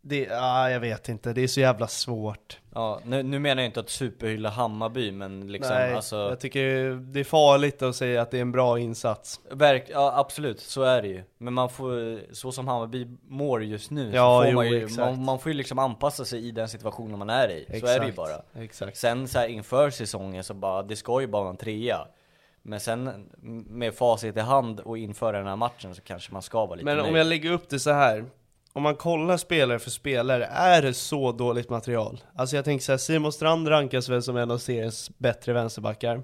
B: det, ja, jag vet inte, det är så jävla svårt.
C: Ja, nu, nu menar jag inte att superhylla Hammarby, men liksom
B: Nej,
C: alltså,
B: jag tycker det är farligt att säga att det är en bra insats.
C: verk, ja, absolut, så är det ju. Men man får, så som Hammarby mår just nu,
B: Ja,
C: så får
B: jo,
C: man, ju,
B: exakt.
C: man, man får ju liksom anpassa sig i den situationen man är i. Så är det ju bara.
B: Exakt.
C: Sen så här inför säsongen så bara, det ska ju bara vara en trea. Men sen med facit i hand och inför den här matchen så kanske man ska vara lite
B: Men om
C: nöjd.
B: jag lägger upp det så här. Om man kollar spelare för spelare, är det så dåligt material? Alltså jag tänker så här, Simon Strand rankas väl som en av seriens bättre vänsterbackar.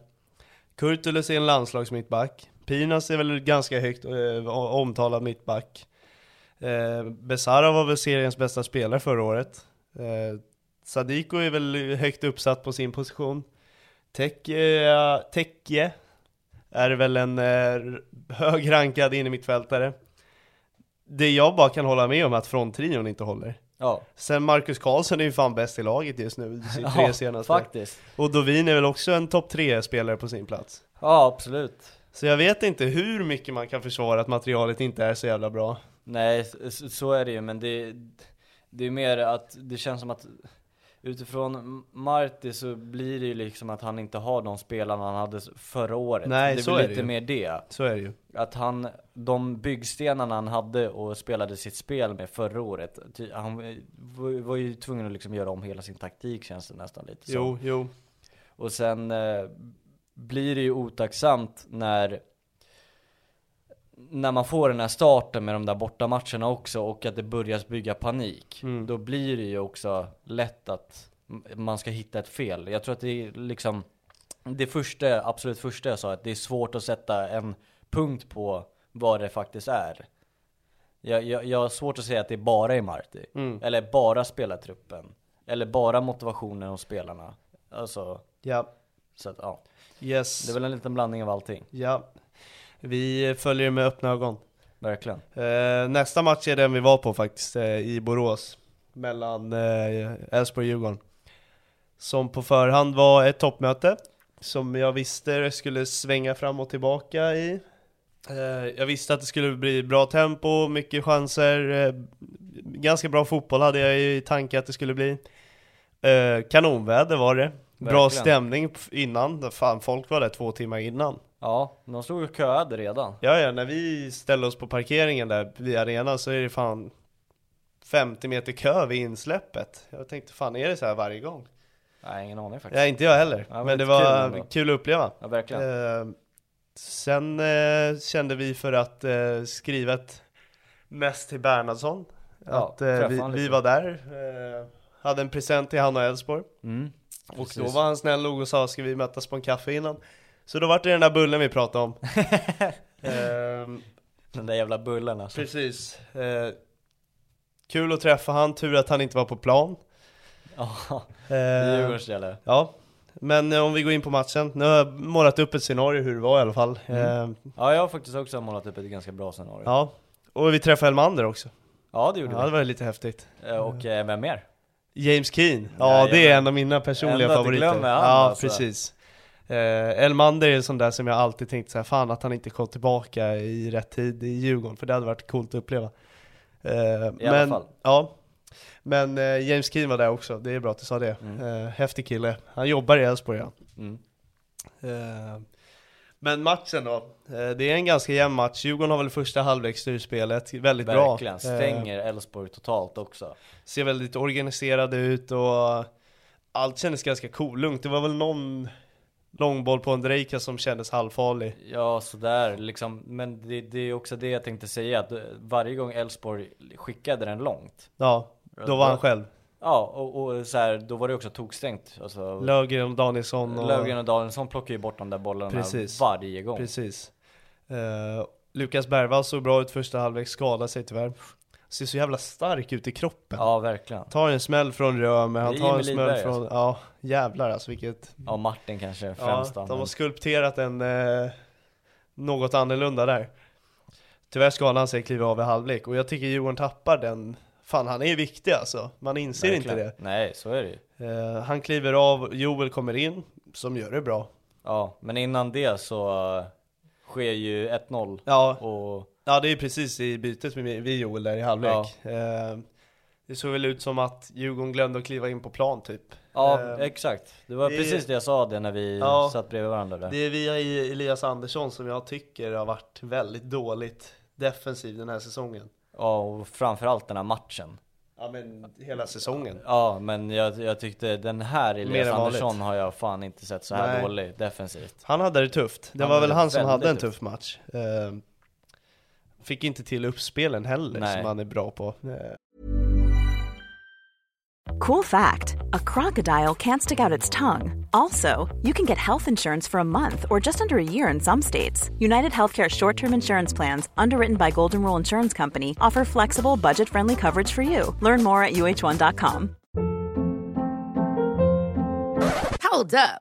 B: Kurtulus är en landslagsmittback. Pinas är väl ganska högt eh, omtalad mittback. Eh, Besara var väl seriens bästa spelare förra året. Eh, Sadiko är väl högt uppsatt på sin position. Tekje, Tekje är väl en eh, hög rankad innermittfältare. Det jag bara kan hålla med om är att fronttrion inte håller.
C: Ja,
B: Sen Marcus Karlsson är ju fan bäst i laget just nu, i sina tre
C: ja
B: senaste.
C: faktiskt.
B: Och Dovin är väl också en topp tre spelare på sin plats.
C: Ja, absolut.
B: Så jag vet inte hur mycket man kan försvara att materialet inte är så jävla bra.
C: Nej, s- så är det ju, men det, det är mer att det känns som att utifrån Marti så blir det ju liksom att han inte har de spelarna han hade s- förra året.
B: Nej,
C: det
B: så
C: väl
B: är det
C: lite
B: ju.
C: mer det.
B: Så är det ju.
C: Att han, de byggstenarna han hade och spelade sitt spel med förra året, ty, han eh, var, var ju tvungen att liksom göra om hela sin taktik känns det nästan lite som.
B: Jo, jo.
C: Och sen eh, blir det ju otacksamt när när man får den här starten med de där bortamatcherna också och att det börjar bygga panik.
B: Mm.
C: Då blir det ju också lätt att m- man ska hitta ett fel. Jag tror att det är liksom det första, absolut första jag sa, att det är svårt att sätta en punkt på vad det faktiskt är. Jag, jag, jag har svårt att säga att det bara är Marti.
B: Mm.
C: Eller bara spelartruppen. Eller bara motivationen hos spelarna. Alltså,
B: Ja.
C: så att, ja.
B: Yes.
C: Det är väl en liten blandning av allting.
B: Ja. Vi följer med öppna ögon.
C: Verkligen.
B: Eh, nästa match är den vi var på faktiskt, eh, i Borås. Mellan eh, Elfsborg och Djurgården. Som på förhand var ett toppmöte. Som jag visste skulle svänga fram och tillbaka i. Eh, jag visste att det skulle bli bra tempo, mycket chanser. Eh, ganska bra fotboll hade jag i tanke att det skulle bli. Eh, kanonväder var det. Bra
C: Verkligen.
B: stämning f- innan. Fan, folk var där två timmar innan.
C: Ja, de stod och köade redan.
B: Ja, ja, när vi ställer oss på parkeringen där vid arenan så är det fan 50 meter kö vid insläppet. Jag tänkte fan, är det så här varje gång?
C: Nej, ingen aning faktiskt.
B: Nej, inte jag heller.
C: Ja, men
B: men det
C: lite
B: var
C: kul
B: kul,
C: ändå.
B: att uppleva.
C: Ja, verkligen.
B: Eh, sen eh, kände vi för att eh, skriva ett mest till Bernhardsson.
C: Ja,
B: att eh, vi,
C: träffa han
B: vi
C: lite.
B: var där, eh, hade en present till Hanna Elfsborg.
C: Mm.
B: Och
C: Precis.
B: då var han snäll och sa ska vi mötas på en kaffe innan? Så då vart det den där bullen vi pratade om. Ehm,
C: Den där jävla bullen alltså.
B: precis. Eh, kul att träffa han, tur att han inte var på plan.
C: Ja,
B: Ehm,
C: Djurgårdens jävla.
B: ja, men eh, om vi går in på matchen. Nu har jag målat upp ett scenario hur det var i alla fall. Ehm,
C: Ja, jag har faktiskt också målat upp ett ganska bra scenario. Ja,
B: ja, och vi träffade Elmander också.
C: det gjorde
B: Ja, det var lite häftigt.
C: vi. Eh, Och eh, vem mer?
B: James Keen, ja det är
C: Jajamän.
B: en av mina personliga
C: Ändå att du
B: favoriter.
C: glömmer han,
B: ja,
C: alltså.
B: precis. Eh, Elmander är en sån där som jag alltid tänkt så här, fan att han inte kom tillbaka i rätt tid i Djurgården, för det hade varit coolt att uppleva. Eh,
C: alla
B: men,
C: fall.
B: Ja. Men eh, James Keen var där också, det är bra att du sa det. Eh, häftig kille, han jobbar i Elfsborg ja.
C: Mm.
B: Eh, Men matchen då, eh, det är en ganska jämn match. Djurgården har väl första halvlek styrspelet, väldigt bra.
C: Verkligen,
B: Eh,
C: stänger Elfsborg totalt också.
B: ser väldigt organiserade ut och allt kändes ganska kolugnt. Det var väl någon långboll på Andrejka som kändes halvfarlig.
C: Ja, sådär liksom. Men det, det är också det jag tänkte säga, att eh, varje gång Elfsborg skickade den långt,
B: Ja, då var han själv.
C: ja, och, och så här, då var det också tokstängt. Alltså,
B: Löfgren och Danielsson och...
C: Löfgren och Danielsson plockar ju bort de där bollarna
B: Precis.
C: varje gång.
B: Precis. Eh, Lukas Bergvall såg bra ut första halvlek, skadade sig tyvärr. Ser så jävla stark ut i kroppen.
C: Ja, verkligen.
B: Tar en smäll från Römer, han
C: Det är
B: tar en
C: Emil
B: smäll
C: Lidberg,
B: från... Ja, jävlar alltså vilket...
C: Ja, Martin kanske
B: Ja,
C: främst. då,
B: de
C: men-
B: har skulpterat en... Eh, något annorlunda där. Tyvärr skadade han sig kliva av i halvlek och jag tycker Djurgården tappar den. Fan, han är viktig alltså. Man inser
C: Verkligen.
B: inte
C: Nej, så är det ju.
B: det. Eh, han kliver av, Joel kommer in, som gör det bra.
C: Ja, men innan det så eh, sker ju 1-0
B: Ja,
C: och
B: Ja det är precis i bytet med vi Joel där i halvlek. Eh, det såg väl ut som att Djurgården glömde att kliva in på plan typ.
C: Ja,
B: Ehm,
C: exakt. Det var
B: det-
C: precis det jag sa det när vi
B: Ja.
C: satt bredvid varandra där.
B: Det är via i- Elias Andersson som jag tycker har varit väldigt dåligt defensiv den här säsongen.
C: Ja, och framförallt den här matchen.
B: Ja men hela säsongen.
C: Ja, men jag, jag tyckte den här Elias
B: Mer än vanligt.
C: Andersson har jag fan inte sett så här
B: Nej.
C: dålig defensivt.
B: Han hade det tufft. Det
C: Han
B: var
C: hade
B: väl
C: det
B: han som
C: väldigt
B: hade en
C: tufft.
B: tuff match. Eh, fick inte till uppspelen heller
C: Nej.
B: som han är bra på. Eh,
D: Cool fact a crocodile can't stick out its tongue. Also, you can get health insurance for a month or just under a year in some states. United Healthcare short term insurance plans, underwritten by Golden Rule Insurance Company, offer flexible, budget friendly coverage for you. Learn more at uh1.com.
A: Hold up.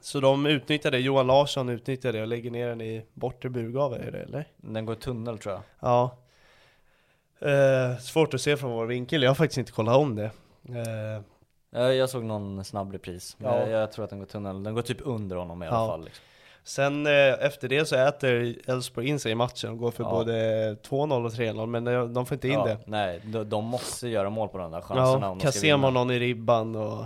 B: Så de utnyttjar det, Johan Larsson utnyttjar det och lägger ner den i bortre burgavel är det eller?
C: Den går i tunnel tror jag.
B: Ja. Eh, svårt att se från vår vinkel, jag har faktiskt inte kollat om det. Eh,
C: Eh, Jag såg någon snabb repris, men
B: Ja.
C: jag, jag tror att den går i tunnel. Den går typ under honom i alla
B: Ja.
C: fall. Liksom.
B: sen eh, efter det så äter Elfsborg in sig i matchen och går för
C: Ja.
B: både 2-0 och 3-0, men de, de får inte in
C: Ja,
B: det.
C: Nej, de, de måste göra mål på de där chanserna
B: Ja,
C: om de ska
B: Kassem har
C: vinna.
B: någon i ribban och...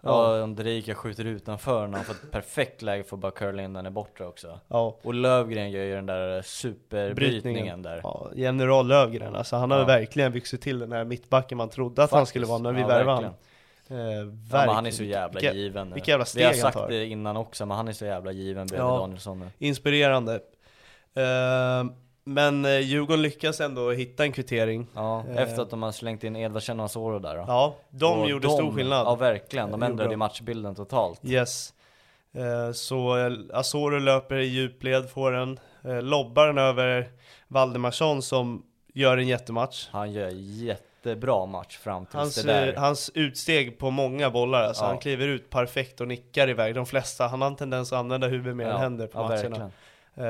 C: Ja, Andrejka skjuter utanför när han får ett perfekt läge för att bara curla in den är borta också.
B: Ja,
C: Och Lövgren gör ju den där superbrytningen där.
B: Ja, General Lövgren alltså, han har
C: Ja.
B: verkligen vuxit till den här mittbacken man trodde att han
C: Faktiskt.
B: skulle vara när vi
C: Ja,
B: värvade honom.
C: verkligen.
B: Eh,
C: Ja, men han är
B: verkligen.
C: så jävla
B: Vilka-
C: given nu.
B: vilka jävla
C: Vi har
B: steg han
C: sagt
B: tar.
C: det innan också, men han är så jävla given bredvid
B: Ja.
C: Danielsson nu.
B: Inspirerande. Eh, men eh, Djurgården lyckas ändå hitta en kvittering.
C: Ja,
B: Eh.
C: efter att de har slängt in Edvardsen och Soro där då.
B: Ja, de
C: Och
B: gjorde stor skillnad.
C: Ja, verkligen. De
B: Eh, gjorde
C: ändrade ju
B: de.
C: matchbilden totalt.
B: Yes. Eh, Så eh, Asoro löper i djupled, får den, eh, lobbar den över Valdemarsson som gör en jättematch.
C: Han gör jättebra match fram tills
B: Hans,
C: det där.
B: eh, hans utsteg på många bollar, alltså
C: Ja.
B: han kliver ut perfekt och nickar iväg de flesta. Han har en tendens att använda huvudet mer
C: ja,
B: än händer på
C: ja,
B: matcherna.
C: verkligen.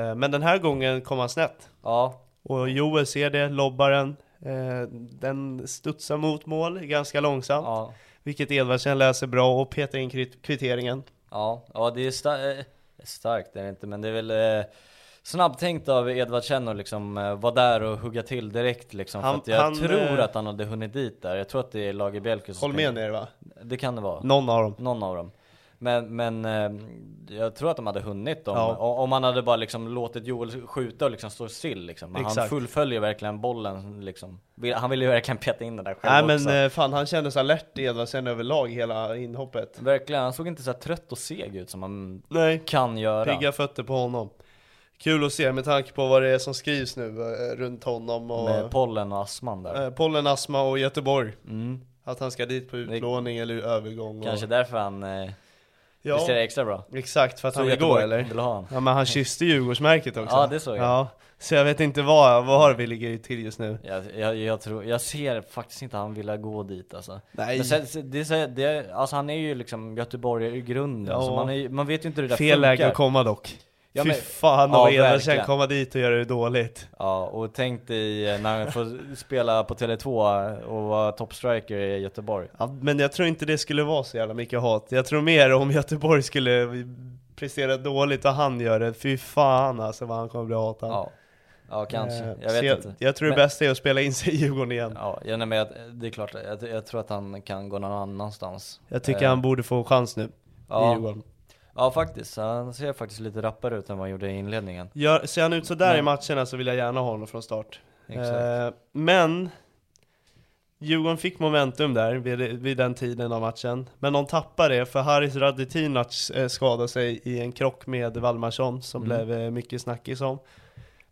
B: Eh, Men den här gången kom han snett.
C: Ja,
B: Och Joel ser det, lobbar den. Eh, Den studsar mot mål ganska långsamt.
C: ja.
B: vilket Edvardsen läser bra och petar in krit- kvitteringen.
C: Ja, ja det är sta- eh, starkt är det inte, men det är väl eh, snabbtänkt av Edvardsen att liksom eh, vara där och hugga till direkt liksom.
B: Han-
C: för att jag
B: han,
C: tror
B: eh,
C: att han hade hunnit dit där. Jag tror att det är Lager Bielke som
B: Håll
C: springer.
B: med ner va?
C: Det kan det vara.
B: Någon av dem.
C: Någon av dem. Men, men eh, jag tror att de hade hunnit om,
B: Ja.
C: o- om man hade bara liksom låtit Joel skjuta och liksom stå still liksom. Men han
B: Exakt.
C: fullföljer verkligen bollen liksom. Vill- Han ville ju verkligen peta in den där själv
B: Nej
C: också.
B: men eh, fan han kändes alert Edvardsen överlag hela inhoppet.
C: Verkligen, han såg inte så här trött och seg ut som man
B: Nej.
C: kan göra.
B: Pigga fötter på honom. Kul att se med tanke på vad det är som skrivs nu eh, runt honom och
C: Med pollen och astman där.
B: eh, pollen, astma och Göteborg.
C: Mm.
B: Att han ska dit på utlåning eller övergång.
C: Kanske
B: och...
C: därför han eh,
B: Ja,
C: presterar extra bra.
B: exakt för att
C: Så
B: han vill gå
C: Göteborg
B: eller?
C: Vill ha han.
B: Ja men han kysste Djurgårdsmärket också.
C: Ja, det såg jag.
B: Ja, så jag vet inte vad, vad har vi ligger till just nu.
C: Jag, jag, jag, tror, jag ser faktiskt inte han vilja gå dit alltså.
B: Nej.
C: Men sen, sen- det, är så här- det, alltså han är ju liksom göteborgare i grunden,
B: Ja.
C: så man, är, ju- man vet ju inte hur det där
B: Fel läge
C: funkar.
B: att komma dock.
C: Ja,
B: Fy
C: men-
B: fan
C: Ja,
B: och Edvardsen
C: verkligen.
B: komma dit och göra det dåligt.
C: Ja, och tänk dig eh, när han får spela på Tele2 och vara toppstriker i Göteborg.
B: Ja, men jag tror inte det skulle vara så jävla mycket hat. Jag tror mer om Göteborg skulle prestera dåligt och han gör det. Fy fan alltså vad han kommer bli hatad.
C: Ja, ja kanske.
B: Eh,
C: Jag
B: så
C: vet
B: jag,
C: inte.
B: Jag tror det
C: Men-
B: bästa är att spela in sig i Djurgården igen.
C: Ja, jag, nej, men jag, det är klart, jag, jag tror att han kan gå någon annanstans.
B: Jag tycker
C: Eh,
B: han borde få chans nu i
C: ja,
B: Djurgården.
C: ja, faktiskt. Han ser faktiskt lite rappare ut än vad han gjorde i inledningen.
B: Gör, ser han ut sådär i
C: Men-
B: matcherna så vill jag gärna ha honom från start.
C: Exakt.
B: Eh, men Djurgården fick momentum där vid, vid den tiden av matchen. Men de tappade det för Haris Radetinac eh, skadade sig i en krock med Valmarsson som
C: Mm.
B: blev eh, mycket snackis om.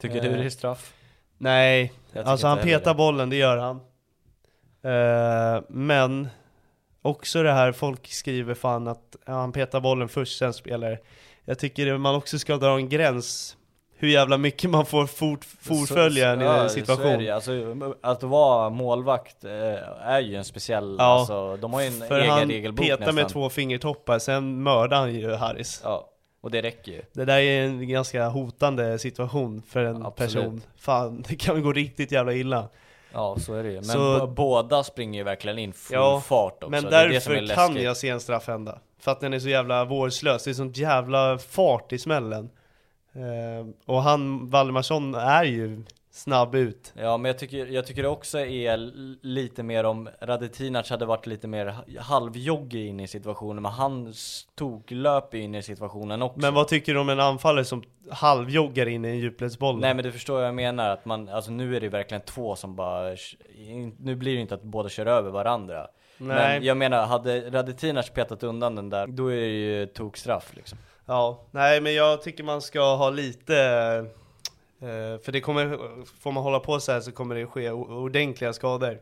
C: Tycker du
B: eh,
C: det är straff?
B: Nej,
C: Jag tycker
B: alltså han
C: inte heller
B: petar
C: det.
B: bollen, det gör han. Eh, men också det här, folk skriver fan att ja, han petar bollen först, sen spelar det. Jag tycker att man också ska dra en gräns hur jävla mycket man får fort, fortfölja en
C: Så- så-
B: eh,
C: så
B: situation.
C: är det ju. alltså, att vara målvakt eh, är ju en speciell,
B: Ja,
C: alltså, de har ju en
B: För
C: egen
B: han
C: regelbok
B: petar
C: nästan.
B: med två fingertoppar, sen mördar han ju Harris.
C: Ja, och det räcker ju.
B: Det där är en ganska hotande situation för en
C: Absolut.
B: person. Fan, det kan gå riktigt jävla illa.
C: Ja, så är det ju. Men
B: Så-
C: b- båda springer ju verkligen in full
B: Ja,
C: fart också.
B: Men
C: det är det som är
B: därför kan
C: läskigt.
B: jag se en straff hända. För att den är så jävla vårdslös, det är sån jävla fart i smällen. Ehm, och han, Valdemarsson, är ju snabb ut.
C: Ja, men jag tycker, jag tycker det också är l- lite mer om Radetinac hade varit lite mer ha- halvjoggig in i situationen, men han tog löp in i situationen också.
B: Men vad tycker du om en anfallare som halvjoggar in i en djupledsboll?
C: Nej men du förstår vad jag menar, att man, alltså nu är det verkligen två som bara, nu blir det inte att båda kör över varandra.
B: Nej.
C: Men jag menar, hade Radetinac petat undan den där, då är det ju tokstraff liksom.
B: Ja, nej men jag tycker man ska ha lite eh, För det kommer, får man hålla på så här så kommer det ske o- ordentliga skador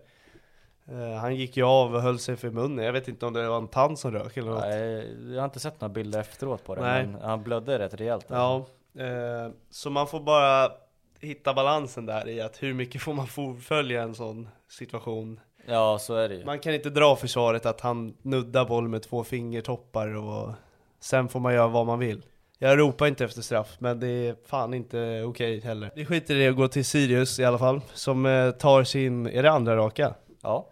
B: Eh, Han gick ju av och höll sig för munnen, jag vet inte om det var en tand som rök eller något
C: Nej, Jag har inte sett några bilder efteråt på det,
B: Nej.
C: men han blödde rätt rejält.
B: Ja, eh, så man får bara hitta balansen där i att hur mycket får man fullfölja en sån situation
C: ja, så är det ju.
B: Man kan inte dra försvaret att han nuddar boll med två fingertoppar och sen får man göra vad man vill. Jag ropar inte efter straff, men det är fan inte okej heller. Vi skiter i det och går till Sirius i alla fall, som eh, tar sin, är det andra raka?
C: Ja,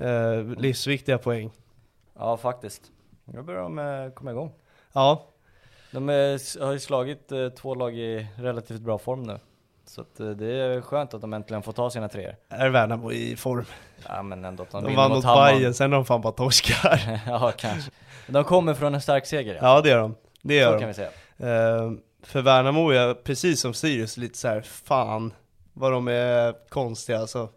B: Eh, livsviktiga poäng.
C: ja faktiskt. Nu börjar de eh, komma igång.
B: Ja,
C: De eh, s- har ju slagit eh, två lag i relativt bra form nu. Så att, eh, det är skönt att de äntligen får ta sina treor.
B: är Värnamo i form.
C: Ja men ändå att de,
B: De
C: vinner
B: vann mot
C: Hammarn.
B: Bayern, sen har de fan bara torskar.
C: ja kanske. De kommer från en stark seger ja.
B: Ja, det gör de. Det gör
C: Så
B: de.
C: kan vi säga.
B: Eh, för Värnamo är jag, precis som Sirius, lite så här, fan vad de är konstiga alltså.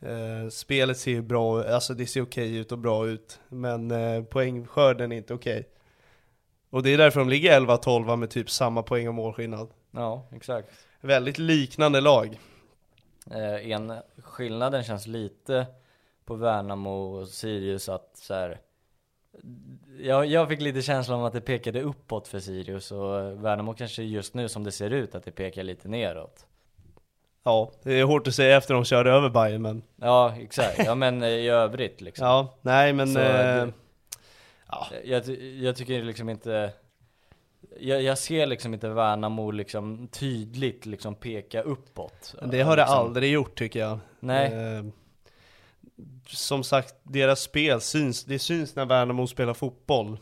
B: Eh, spelet ser ju bra alltså det ser okej ut och bra ut, men eh, poängskörden är inte okej. Och det är därför de ligger 11-12 med typ samma poäng och målskillnad.
C: Ja, exakt.
B: Väldigt liknande lag.
C: Eh, en skillnaden känns lite på Värnamo och Sirius att så här, jag, jag fick lite känslan om att det pekade uppåt för Sirius och eh, Värnamo kanske just nu som det ser ut att det pekar lite neråt.
B: Ja, det är hårt att säga efter de körde över Bayern men
C: Ja, exakt. Ja men eh, i övrigt liksom.
B: ja, nej men
C: Så
B: eh,
C: det-
B: ja.
C: Jag, ty- jag tycker liksom inte jag, jag ser liksom inte Värnamo liksom tydligt liksom peka uppåt.
B: det har det
C: liksom.
B: aldrig gjort tycker jag.
C: Nej.
B: Eh, som sagt, deras spel syns. Det syns när Värnamo spelar fotboll.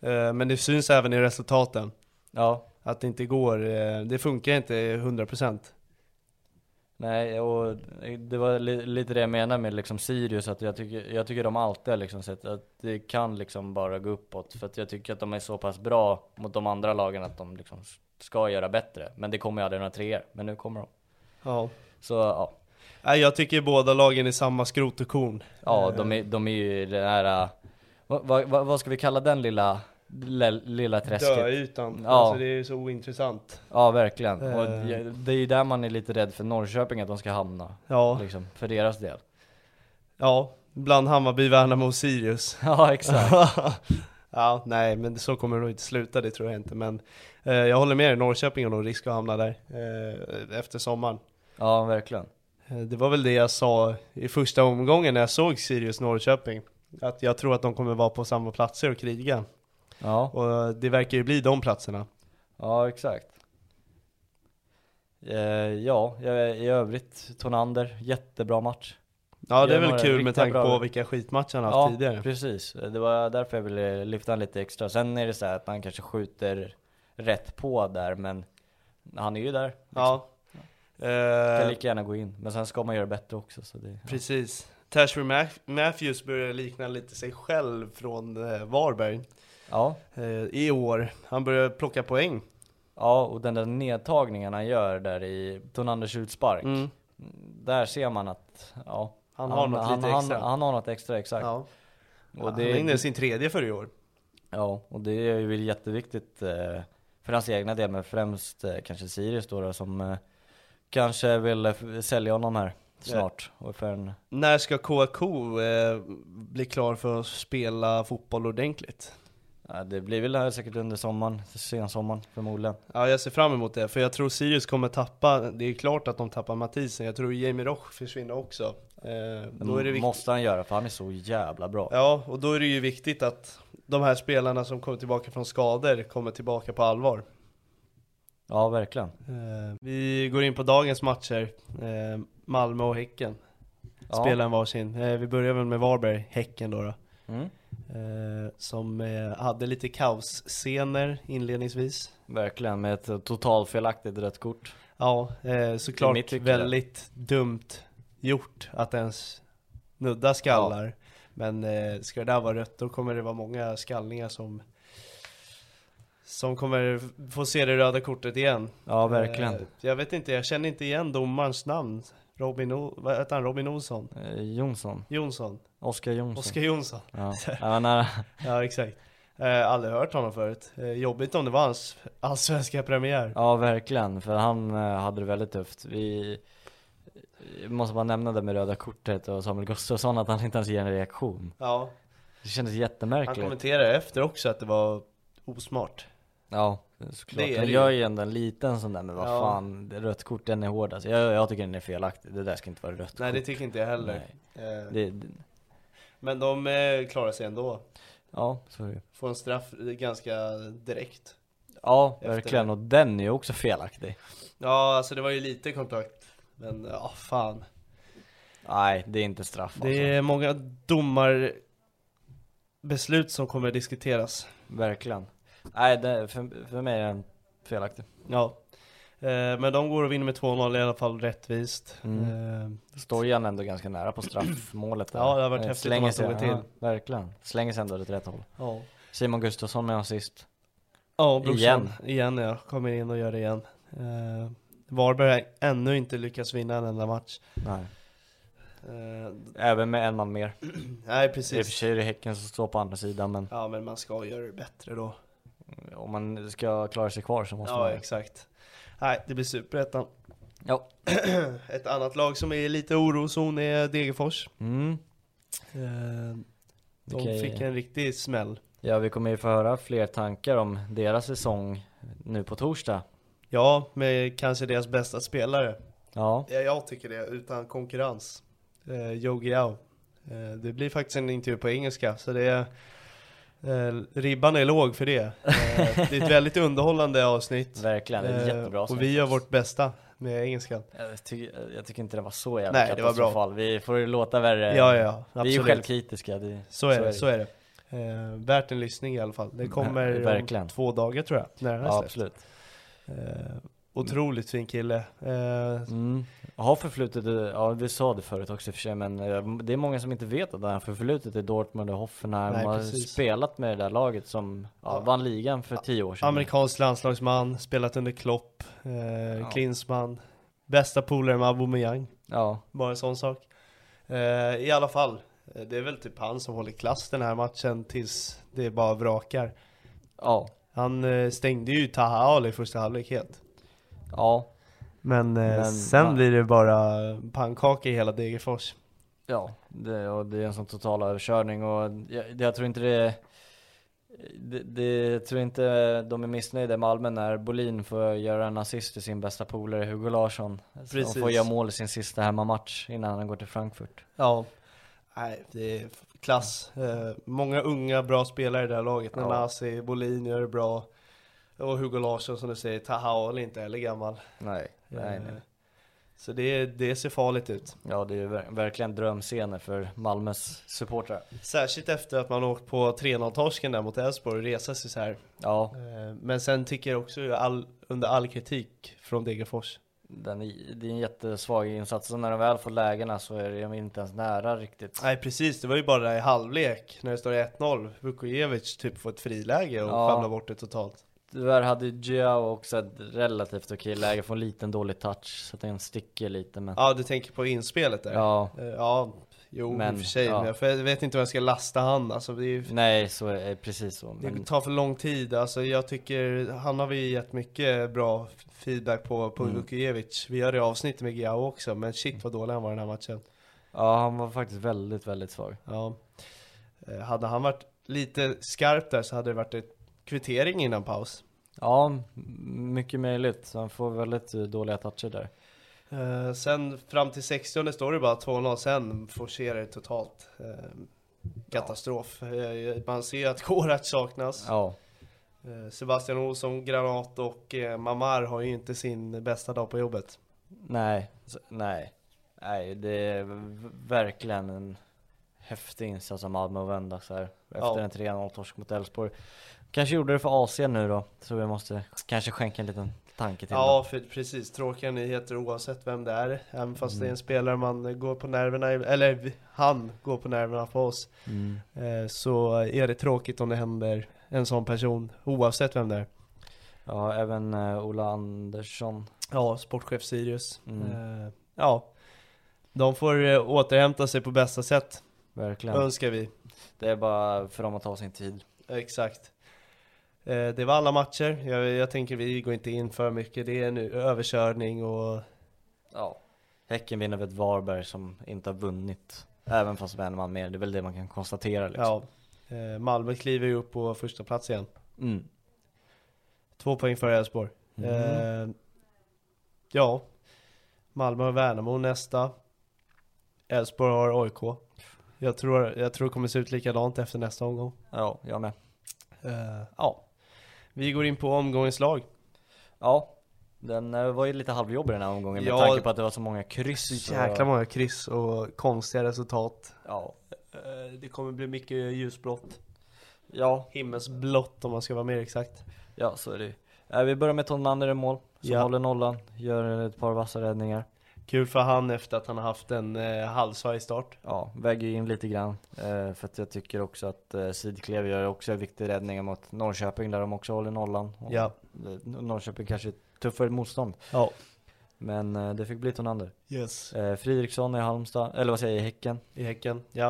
B: Eh, Men det syns även i resultaten.
C: Ja,
B: Att det inte går, eh, det funkar inte 100%.
C: nej och det var li, lite det jag menade med liksom Sirius, att jag tycker, jag tycker de alltid har liksom sett att det kan liksom bara gå uppåt. För att jag tycker att de är så pass bra mot de andra lagen att de liksom ska göra bättre. Men det kommer ju aldrig några treor, men nu kommer de.
B: Ja.
C: Så ja,
B: Nej, jag tycker båda lagen är samma skrot och korn.
C: ja de, är, de är ju den här, eh, vad, vad, vad ska vi kalla den lilla, lilla, lilla träsket?
B: Dö utan.
C: Ja.
B: Alltså det är ju så ointressant.
C: Ja verkligen,
B: Eh.
C: och det- det är ju där man är lite rädd för Norrköping att de ska hamna,
B: Ja,
C: liksom, för deras del.
B: ja. Bland Hammarby, Värnamo och Sirius.
C: Ja exakt.
B: ja, nej men så kommer det nog inte sluta, det tror jag inte. Men eh, jag håller med dig, Norrköping har nog risk att hamna där eh, efter sommaren.
C: Ja verkligen.
B: Eh, Det var väl det jag sa i första omgången när jag såg Sirius Norrköping. Att jag tror att de kommer vara på samma platser och kriga.
C: Ja,
B: Och eh, det verkar ju bli de platserna.
C: ja exakt. Eh, ja, jag- i övrigt, Tonander, jättebra match.
B: Ja det
C: Gör
B: är väl
C: några
B: kul
C: riktigt
B: med tanke
C: bra-
B: på vilka skitmatcher han haft
C: Ja,
B: tidigare.
C: precis. Det var därför jag ville lyfta han lite extra. Sen är det så här att han kanske skjuter rätt på där, men han är ju där.
B: Ja.
C: Kan
B: Eh,
C: lika gärna gå in. Men sen ska man göra bättre också. Så det,
B: precis. Tashry Ma- Matthews börjar likna lite sig själv från eh, Varberg
C: ja.
B: eh, i år. Han börjar plocka poäng.
C: ja, och den där nedtagningen han gör där i Tonanders utspark.
B: Mm.
C: Där ser man att, ja.
B: Han har något lite
C: han,
B: extra.
C: Han, han har något extra, exakt.
B: Ja.
C: Och
B: han
C: det,
B: hängde sin tredje för i år.
C: Ja, och det är ju väl jätteviktigt eh, för hans egna del, men främst eh, kanske Sirius då, då som eh, kanske vill eh, f- sälja honom här snart. Och för en,
B: När ska KK eh, bli klar för att spela fotboll ordentligt?
C: ja, det blir väl här säkert under sommaren, sensommaren förmodligen.
B: Ja, jag ser fram emot det, för jag tror Sirius kommer tappa, det är klart att de tappar Mathisen, jag tror Jamie Roch försvinner också. Eh,
C: Men
B: då är det viktigt.
C: måste han göra, för han är så jävla bra.
B: Ja, och då är det ju viktigt att de här spelarna som kommer tillbaka från skador kommer tillbaka på allvar.
C: Ja, verkligen.
B: Eh, vi går in på dagens matcher, eh, Malmö och Häcken.
C: Ja.
B: Spelar en varsin. Eh, vi börjar väl med Varberg, Häcken då. då.
C: Mm,
B: Eh, som eh, hade lite kaosscener inledningsvis.
C: verkligen, med ett totalfelaktigt rött kort.
B: Ja, eh,
C: mitt
B: såklart
C: tycke.
B: väldigt dumt gjort att ens nudda skallar. Men eh, ska det där vara rött då kommer det vara många skallningar som som kommer f- få se det röda kortet igen.
C: Ja, verkligen.
B: Eh, jag vet inte, jag känner inte igen domarens namn. Robin, o- vad heter han? Robin Olsson?
C: Eh, Jonsson,
B: Jonsson?
C: Oskar Jonsson.
B: Oskar Jonsson?
C: Ja. Ja, nej,
B: Ja, exakt. Eh, aldrig hört honom förut. Eh, jobbigt om det var hans allsvenska premiär.
C: Ja verkligen, för han eh, hade det väldigt tufft. Vi jag måste bara nämna det med röda kortet och Samuel Gustafsson att han inte ens ger en reaktion.
B: Ja,
C: Det kändes
B: han
C: jättemärkligt.
B: kommenterade efter också att det var osmart.
C: Ja, såklart.
B: Det är
C: Han
B: det
C: gör
B: ju.
C: ju ändå en liten sån där, men vad
B: Ja.
C: fan, det rött kort den är hård alltså. jag, jag tycker den är felaktig, det där ska inte vara rött
B: Nej det
C: kort.
B: tycker inte jag heller.
C: Nej.
B: Eh,
C: Det, det,
B: Men de eh, klarar sig ändå.
C: ja, sorry.
B: Får en straff eh, ganska direkt.
C: Ja,
B: Efter
C: verkligen.
B: det.
C: Och den är ju också felaktig.
B: Ja alltså det var ju lite kontakt. Men ja fan.
C: Nej, det är inte straff alltså.
B: Det är många domarbeslut som kommer diskuteras.
C: Verkligen. Nej, det, för, för mig är den felaktig.
B: Ja. Eh, Men de går och vinner med 2-0 i alla fall rättvist.
C: Mm.
B: Eh,
C: Står ju han ändå ganska nära på straffmålet där.
B: Ja, det hade varit
C: Eh,
B: häftigt om
C: slänger
B: han
C: sig-
B: tog det
C: ja, verkligen. Slänger sig ändå åt rätt håll.
B: Ja.
C: Simon Gustafsson med assist.
B: Ja, brorsan. Igen.
C: Igen.
B: Igen ja, kommer in och gör det igen. Eh, Varberg har ännu inte lyckats vinna en enda match.
C: Nej.
B: Eh,
C: Även med en man mer.
B: Nej
C: I och för
B: precis.
C: sig är det Häcken som står på andra sidan, men
B: Ja men man ska göra det bättre då.
C: om man ska klara sig kvar så måste
B: Ja
C: man...
B: exakt. Nej det blir superettan.
C: Ja.
B: Ett annat lag som är lite orozon är Degerfors.
C: Mm.
B: Eh, De
C: Okej.
B: fick en riktig smäll.
C: Ja, vi kommer ju få höra fler tankar om deras säsong nu på torsdag.
B: Ja, med kanske deras bästa spelare.
C: Ja,
B: Ja, jag tycker det, utan konkurrens. Eh, Yogi Ao. Eh, det blir faktiskt en intervju på engelska, så det är... Eh, ribban är låg för det. Eh, det är ett väldigt underhållande avsnitt.
C: verkligen. Det är ett
B: Eh,
C: jättebra
B: Och
C: avsnitt.
B: vi gör vårt bästa. med engelskan.
C: Jag, ty- jag tycker inte det var så jävla
B: Nej, det var bra.
C: katastrofal. Vi får ju låta värre.
B: Ja, ja,
C: Eh, Vi är ju
B: absolut.
C: självkritiska. Det, Mm.
B: Så är det, så är det. Eh, värt en lyssning i alla fall. Det kommer
C: Ja, verkligen.
B: om två dagar tror jag. När den här
C: Ja,
B: släpps.
C: absolut.
B: Eh, otroligt fin kille. Eh,
C: Mm. Jag Har förflutet, i- ja vi sa det förut också i och för sig, men eh, det är många som inte vet att han har förflutet i Dortmund och Hoffenheim.
B: Nej,
C: har
B: precis.
C: spelat med det där laget som ja,
B: Ja.
C: vann ligan för tio år sedan.
B: Amerikansk landslagsman, spelat under Klopp, eh, Klinsmann. Bästa polare med Aubameyang.
C: Ja,
B: Bara en sån sak. Eh, I alla fall, eh, det är väl typ han som håller klass den här matchen tills det bara vrakar.
C: ja,
B: Han eh, stängde ju Taha Ali i första halvlek helt.
C: ja.
B: Men, eh,
C: Men,
B: sen
C: ja.
B: blir det bara pannkaka i hela Degerfors.
C: Ja, det, och det är en sån total överkörning och jag, det- jag tror inte det, det, det jag tror inte de är missnöjda i Malmö när Bolin får göra en assist till sin bästa polare Hugo Larsson.
B: Precis.
C: Som får göra mål i sin sista hemmamatch innan han går till Frankfurt.
B: Ja. Nej, det är f- klass. Eh, många unga bra spelare i det här laget.
C: Ja.
B: Nanasi, Bolin gör det bra. Och Hugo Larsson som du säger, Taha Ali inte heller gammal.
C: Nej, nej, nej.
B: Eh, Så det, det ser farligt ut.
C: Ja, det är ju ver- verkligen drömscener för Malmös supportrar.
B: Särskilt efter att man åkt på 3-0-torsken där mot Elfsborg och resa sig så här.
C: Ja,
B: Eh, Men sen tycker jag också all, under all kritik från Degerfors.
C: den, är- det är en jättesvag insats. Så när de väl får lägena så är de inte ens nära riktigt.
B: Nej precis, det var ju bara där i halvlek när det står 1-0. Vukojevic typ får ett friläge och
C: Ja.
B: famlar bort det totalt.
C: Tyvärr hade Giao också ett relativt okej läge, får en liten dålig touch så att den sticker lite men...
B: Ja, du tänker på inspelet där?
C: Ja,
B: Eh, Ja, jo
C: Men,
B: i och för sig.
C: ja.
B: Men jag, för jag vet inte vad jag ska lasta han. Alltså, det, är, ju-
C: nej så är det precis så.
B: det
C: Men,
B: tar för lång tid. Alltså, jag tycker, han har vi gett mycket bra feedback på,
C: Mm.
B: på Vukojevic. Vi gör det avsnittet med Giao också, men shit vad dålig han var i den här matchen.
C: ja han var faktiskt väldigt, väldigt svag.
B: Ja. Eh, Hade han varit lite skarp där så hade det varit ett kvittering innan paus.
C: Ja, m- mycket möjligt. Så Han får väldigt eh, dåliga toucher där.
B: Eh, Sen fram till 60 står det bara 2-0, sen forcerar det totalt. Eh, Katastrof. Eh, Man ser att Korac saknas.
C: Ja,
B: Eh, Sebastian Olsson, Granat och eh, Mamar har ju inte sin bästa dag på jobbet.
C: nej, så, nej. Nej, det är v- verkligen en häftig insats av Malmö att vända så här. Efter
B: Ja.
C: en 3-0-torsk mot Elfsborg. Kanske gjorde det för AC nu då, så vi måste kanske skänka en liten tanke till dem.
B: Ja, för, precis. Tråkiga nyheter oavsett vem det är. Även fast det är en spelare man eh, går på nerverna, i- eller vi- han går på nerverna på oss.
C: Mm.
B: eh, Så är det tråkigt om det händer en sån person, oavsett vem det är.
C: Ja, även eh, Ola Andersson.
B: Ja, sportchef Sirius.
C: Mm.
B: Eh, Ja, de får eh, återhämta sig på bästa sätt,
C: Verkligen.
B: önskar vi.
C: Det är bara för dem att ta sin tid.
B: Exakt. Eh, Det var alla matcher. Jag, jag tänker vi går inte in för mycket. Det är en överkörning och
C: Ja. Häcken vinner över ett Varberg som inte har vunnit. Även fast med en man mer. Det är väl det man kan konstatera liksom.
B: ja, eh, Malmö kliver ju upp på första plats igen.
C: Mm.
B: Två poäng före Elfsborg.
C: Mm.
B: Eh, ja, Malmö och Värnamo nästa. Elfsborg har AIK. Jag tror, jag tror det kommer se ut likadant efter nästa omgång.
C: Ja, jag med.
B: Eh, ja, vi går in på omgångens lag.
C: Ja. Den eh, var ju lite halvjobbig den här omgången
B: Ja.
C: med tanke på att det var så många kryss.
B: Så
C: och-
B: jäkla många kryss och konstiga resultat.
C: Ja.
B: Eh, det kommer bli mycket ljusblått.
C: Ja,
B: himmelsblått om man ska vara mer exakt.
C: ja så är det ju. Eh, Vi börjar med Tonmander i mål. Som
B: Ja.
C: håller nollan. Gör ett par vassa räddningar.
B: Kul för han efter att han har haft en eh, halvsvajig start.
C: Ja, väger ju in lite grann. Eh, för att jag tycker också att eh, Sidklev gör också en viktig räddning mot Norrköping där de också håller nollan. Och,
B: Ja.
C: eh, Norrköping kanske är ett tuffare motstånd.
B: Ja.
C: Men eh, det fick bli Tonander.
B: Yes.
C: Eh, Fridriksson i Halmstad, eller vad säger jag, i Häcken.
B: I Häcken, ja.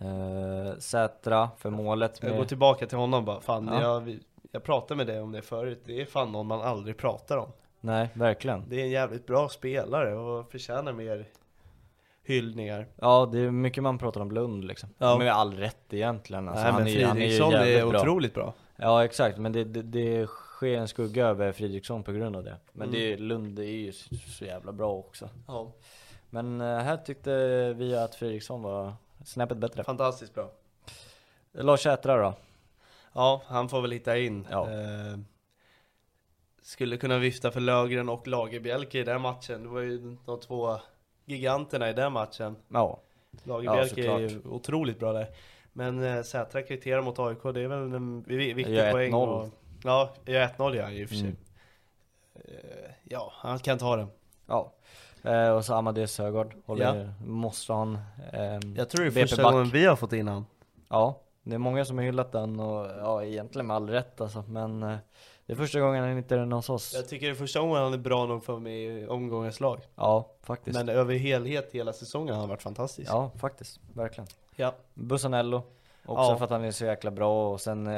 C: Eh, Sätra för målet.
B: Jag
C: Med,
B: går tillbaka till honom bara, fan
C: Ja.
B: jag, vi- jag pratade med dig om det förut, det är fan någon man aldrig pratar om.
C: Nej, verkligen.
B: Det är en jävligt bra spelare och förtjänar mer hyllningar.
C: Ja, det är mycket man pratar om Lund liksom.
B: Ja.
C: Med all rätt egentligen. Alltså,
B: Nej men
C: är ju- är ju
B: Fridriksson är,
C: jävligt bra.
B: otroligt bra.
C: Ja exakt, men det, det, det sker en skugga över Fridriksson på grund av det. Men
B: Mm.
C: det är, Lund det är ju så, så jävla bra också.
B: Ja.
C: Men eh, här tyckte vi att Fridriksson var snäppet bättre.
B: Fantastiskt bra.
C: Lars Sätra då?
B: Ja, han får väl hitta in.
C: Ja.
B: Eh, skulle kunna vifta för Lögren och Lagerbjälke i den matchen. Det var ju de två giganterna i den matchen.
C: Ja.
B: Lagerbjälke
C: Ja,
B: är ju
C: såklart.
B: otroligt bra där. Men eh, Sätra kvitterar mot AIK, det är väl en vi- viktig
C: Gör
B: poäng.
C: 1-0.
B: och- Ja, gör 1-0 gör han ju i och för sig.
C: Mm.
B: Eh, Ja, han kan ta den.
C: ja. Eh, och så Amadeus Sögaard håller, måste han. ehm,
B: Jag tror det är
C: BP
B: första
C: back.
B: gången vi har fått in han.
C: Ja, det är många som har hyllat den och ja, egentligen med all rätt alltså, men eh, det är första gången han inte är den hos oss.
B: Jag tycker det är första gången han är bra nog för mig i omgångens lag.
C: Ja, faktiskt.
B: Men över helhet hela säsongen har han varit fantastisk.
C: Ja, faktiskt. Verkligen.
B: Ja.
C: Bussanello, också
B: Ja.
C: för att han är så jäkla bra och sen eh,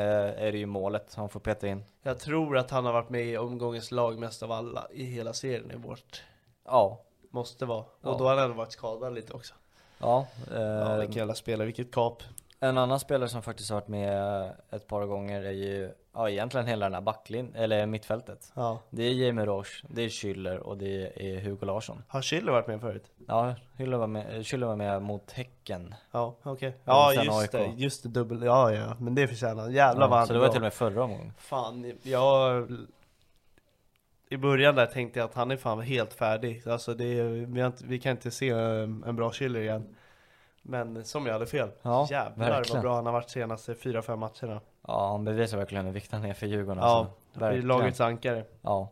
C: är det ju målet han får peta in.
B: Jag tror att han har varit med i omgångens lag mest av alla i hela serien i vårt.
C: Ja,
B: Måste vara. Och
C: Ja.
B: då har han ändå varit skadad lite också.
C: ja. Eh,
B: Ja, vilken jävla spelare, vilket kap.
C: En annan spelare som faktiskt har varit med eh, ett par gånger är ju, ja egentligen hela den här backlin, eller mittfältet.
B: Ja.
C: Det är Jamie Roche, det är Schüller och det är Hugo Larsson.
B: Har Schiller varit med förut?
C: Ja, Schüller var med, eh, Schüller var med mot Häcken.
B: Ja, okej.
C: Ja,
B: Ja,
C: sen AIK.
B: just det. Just det, dubbel. Ja, ja. Men det förtjänar han. Jävlar vad han
C: så
B: är
C: det var
B: bra.
C: till och med förra omgången.
B: Fan, jag... I början där tänkte jag att han är fan helt färdig. Alltså det är, vi, har inte, vi kan inte se eh, en bra Schiller igen. Men som jag hade fel.
C: Ja,
B: Jävlar
C: verkligen.
B: vad bra han har varit senaste 4-5 matcherna.
C: Ja, han bevisar verkligen hur viktig han är för Djurgården.
B: Ja,
C: alltså.
B: det är lagets ankare.
C: Ja.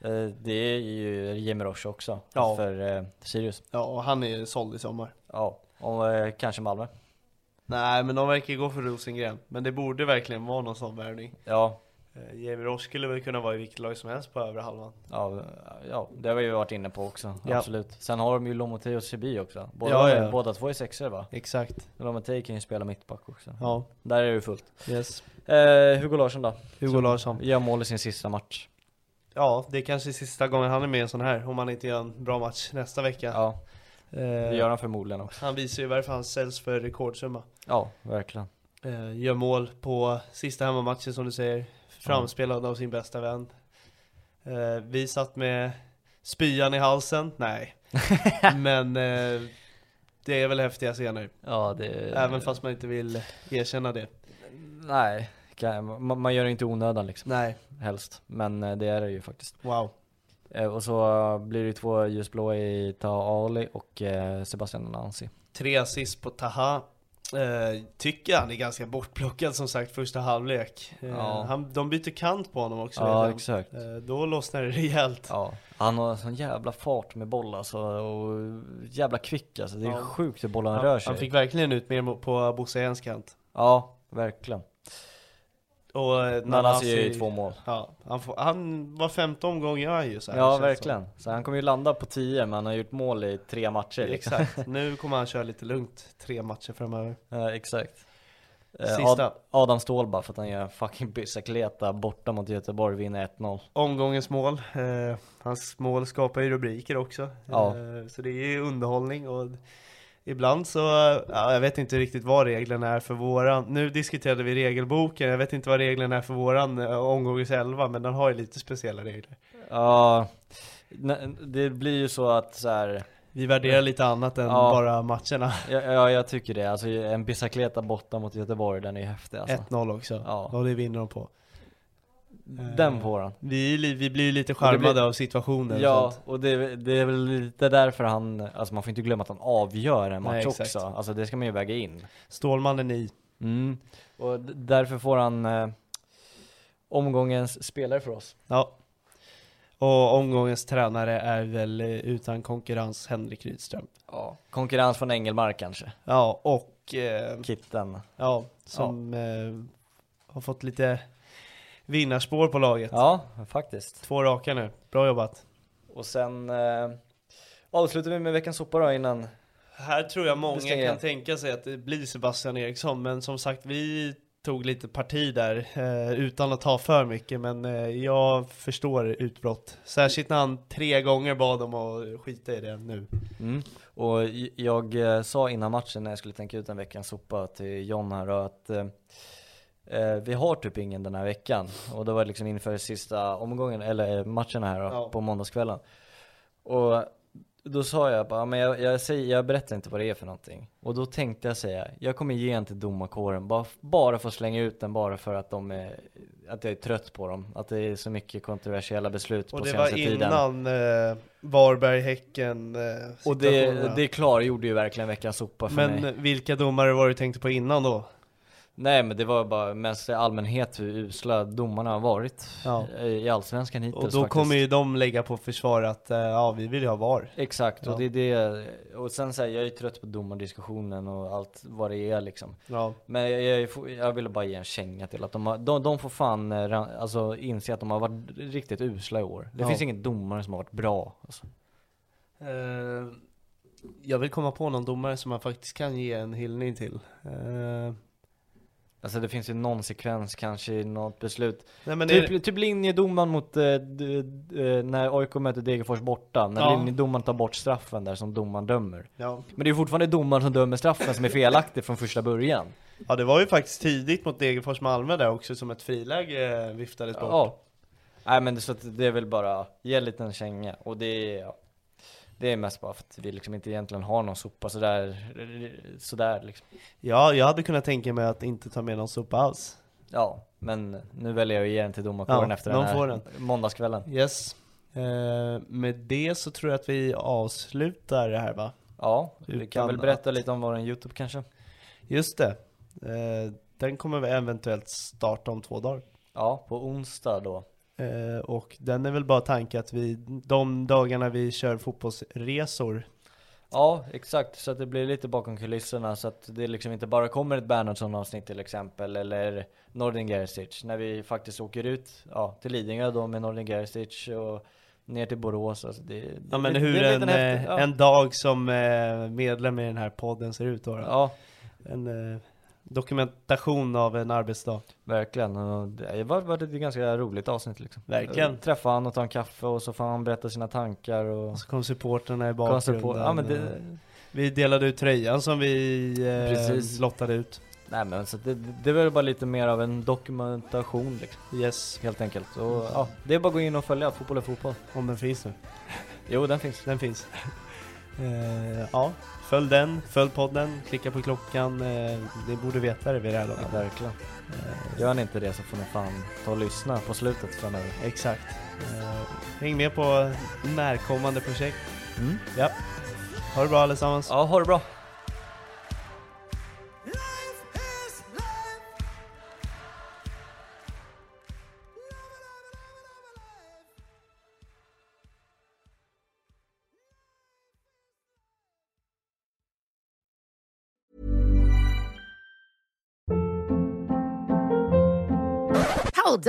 C: Eh, Det är ju Jimmy Roche också,
B: Ja.
C: för eh, Sirius.
B: Ja, och han är såld i sommar.
C: Ja, och eh, kanske Malmö.
B: Nej, men de verkar gå för Rosengren. Men det borde verkligen vara någon sån värvning.
C: Ja,
B: Eh, Jamie Ross skulle väl kunna vara i vilket lag som helst på övre halvan.
C: ja, ja, det har vi ju varit inne på också,
B: Ja.
C: absolut. Sen har de ju Lomotey och Sebi också. Båda,
B: Ja, ja.
C: båda två är sexor va?
B: Exakt.
C: Lomotey kan ju spela mittback också.
B: Ja,
C: Där är det ju fullt.
B: yes.
C: Eh, Hugo Larsson då?
B: Hugo
C: Som
B: Larsson.
C: Gör mål i sin sista match.
B: Ja, det är kanske sista gången han är med i en sån här, om han inte gör en bra match nästa vecka.
C: Ja, det
B: Eh,
C: gör han förmodligen också.
B: Han visar ju varför han säljs för rekordsumma.
C: Ja, verkligen.
B: Eh, gör mål på sista hemmamatchen som du säger, framspelad av sin bästa vän. Eh, vi satt med spyan i halsen, nej. Men eh, det är väl häftiga scener,
C: Ja, det...
B: även fast man inte vill erkänna det.
C: Nej, kan, man, man gör det inte i onödan liksom,
B: Nej,
C: helst. Men eh, det är det ju faktiskt.
B: wow.
C: Eh, Och så eh, blir det ju två ljusblå i Taha Ali och eh, Sebastian Nancy.
B: Tre assist på Taha. Eh, tycker han är ganska bortplockad som sagt första halvlek. Eh,
C: Ja.
B: han, de byter kant på honom också.
C: Ja,
B: vet
C: exakt.
B: jag. Eh, då lossnar det rejält.
C: Ja. Han har sån jävla fart med boll alltså, och jävla kvick alltså. Det är
B: Ja.
C: sjukt hur bollen
B: han,
C: rör sig.
B: han fick verkligen ut mer mo- på Bosse Ens kant.
C: Ja, verkligen.
B: Och eh,
C: Nanasi
B: Nanasi-
C: gör ju två mål.
B: Ja, han, får, han var femte omgång gör han ju så här,
C: Ja,
B: känns det
C: verkligen. Så han kommer ju landa på 10 men han har gjort mål i tre matcher.
B: som.
C: Liksom.
B: Exakt, nu kommer han köra lite lugnt tre matcher framöver.
C: Ja, exakt. Eh,
B: Sista.
C: Ad- Adam Ståhl bara för att han gör en fucking bicicleta borta mot Göteborg, vinner 1-0.
B: Omgångens mål, eh, hans mål skapar ju rubriker också.
C: Ja.
B: Eh, så det är ju underhållning och ibland så, eh, ja, jag vet inte riktigt vad reglerna är för våran, nu diskuterade vi regelboken, jag vet inte vad reglerna är för våran eh, omgångens elva, men den har ju lite speciella regler.
C: Ja, n- det blir ju så att så här,
B: Vi värderar lite annat än
C: Ja.
B: bara matcherna.
C: Ja, ja jag tycker det. Alltså en bicicleta borta mot Göteborg, den är ju häftig alltså.
B: 1-0 också,
C: Ja.
B: och det vinner de på. eh,
C: Den får han.
B: Vi, är li- vi blir ju lite
C: blir-
B: charmade av situationer och
C: Ja,
B: sånt.
C: och det, det är väl lite därför han, alltså man får inte glömma att han avgör en match
B: Nej, exakt.
C: också. Alltså det ska man ju väga in.
B: Stålmannen i.
C: Mm. Och d- därför får han eh, omgångens spelare för oss.
B: Ja. Och omgångens tränare är väl eh, utan konkurrens Henrik Rydström.
C: Ja. Konkurrens från Engelmark kanske,
B: Ja, och eh,
C: Kitten.
B: ja, som Eh, har fått lite vinnarspår på laget.
C: Ja, faktiskt.
B: Två raka nu, bra jobbat.
C: Och sen eh, avslutar vi med veckans sopa då innan.
B: Här tror jag
C: Det
B: många
C: ska
B: kan
C: jag.
B: tänka sig att det blir Sebastian Eriksson, men som sagt vi tog lite parti där eh, utan att ta för mycket, men eh, jag förstår utbrott. Särskilt när han tre gånger bad om att skita i det nu.
C: Mm. Och j- jag eh, sa innan matchen när jag skulle tänka ut en veckans sopa till John här då, att eh, eh, vi har typ ingen den här veckan. Och det var liksom inför sista omgången, eller eh, matchen här då,
B: Ja.
C: på måndagskvällen. Och då sa jag bara, men jag, jag, säger, jag berättar inte vad det är för någonting. Och då tänkte jag säga, jag kommer ge en till domarkåren, bara, bara för att slänga ut den bara för att de är att jag är trött på dem. Att det är så mycket kontroversiella beslut
B: Och
C: på
B: det
C: senaste
B: var
C: tiden.
B: innan eh, Varberg, Häcken eh,
C: Och det,
B: situationerna.
C: det klargjorde ju verkligen veckans sopa för mig.
B: Men vilka domare var du tänkte på innan då?
C: Nej men det var bara mest i allmänhet hur usla domarna har varit
B: Ja.
C: i- i Allsvenskan hittills
B: Och då
C: faktiskt.
B: kommer ju de lägga på försvar att eh, ja, vi vill ju ha VAR.
C: Exakt,
B: Ja.
C: och det är det. Och sen säger jag är ju trött på domardiskussionen och allt vad det är liksom.
B: Ja.
C: Men jag, jag, är fo- jag ville bara ge en känga till att de, har, de, de får fan eh, ra- alltså, inse att de har varit riktigt usla i år. Det
B: Ja.
C: finns ingen domare som har varit bra. Alltså.
B: Eh, jag vill komma på någon domare som man faktiskt kan ge en hyllning till. Eh,
C: alltså det finns ju någon sekvens kanske i något beslut.
B: nej, men är,
C: typ, typ linjedomaren mot, eh, d, d, eh, när AIK möter Degerfors borta, när
B: Ja.
C: linjedomaren tar bort straffen där som domaren dömer.
B: ja.
C: Men det är ju fortfarande domaren som dömer straffen som är felaktig från första början.
B: ja, det var ju faktiskt tidigt mot Degerfors Malmö där också som ett friläge eh, viftades bort.
C: Ja. Nej men det- så att det är väl bara, ge en liten känga. Och det är, ja, det är mest bara för att vi liksom inte egentligen har någon sopa sådär, sådär liksom.
B: Ja, jag hade kunnat tänka mig att inte ta med någon sopa alls.
C: Ja, men nu väljer jag att ge den till domarkåren
B: Ja,
C: efter
B: någon
C: den här
B: får den.
C: måndagskvällen.
B: Yes. Eh, med det så tror jag att vi avslutar det här va?
C: Ja, vi
B: Utan
C: kan väl berätta
B: att-
C: lite om våran YouTube kanske?
B: Just det. Eh, den kommer vi eventuellt starta om två dagar.
C: Ja, på onsdag då.
B: Eh, och den är väl bara tanken att vi, de dagarna vi kör fotbollsresor
C: Ja, exakt. Så att det blir lite bakom kulisserna. Så att det liksom inte bara kommer ett Bernhardsson-avsnitt till exempel, eller Nordin Gerzic. När vi faktiskt åker ut ja, till Lidingö då med Nordin Gerzic och ner till Borås. Alltså det,
B: Ja men
C: det,
B: hur
C: det är
B: en,
C: lite häftigt,
B: eh,
C: ja.
B: en dag som eh, medlem i den här podden ser ut då. då.
C: Ja,
B: En eh, dokumentation av en arbetsdag.
C: verkligen. Och Det var, var ett ganska roligt avsnitt liksom.
B: Verkligen.
C: Träffa han och ta en kaffe och så får han berätta sina tankar och
B: Och så kom supportrarna i
C: konsta
B: bakgrunden.
C: på. Ja men
B: eh,
C: det,
B: Vi delade ut tröjan som vi eh,
C: Precis.
B: lottade ut.
C: nej men så att det, det var bara lite mer av en dokumentation liksom,
B: Yes,
C: helt enkelt. Och ja, det är bara att gå in och följa Fotboll är fotboll.
B: om den finns nu.
C: Jo, den finns.
B: Den finns. Eh, ja, följ den, följ podden, klicka på klockan. Eh, ni borde veta det vid det här
C: Ja,
B: laget.
C: verkligen. Eh, Gör ni inte det så får ni fan ta och lyssna på slutet framöver.
B: Exakt. Eh, häng med på närkommande projekt.
C: Mm.
B: Ja. Ha det bra allesammans.
C: Ja, ha det bra.
A: Hold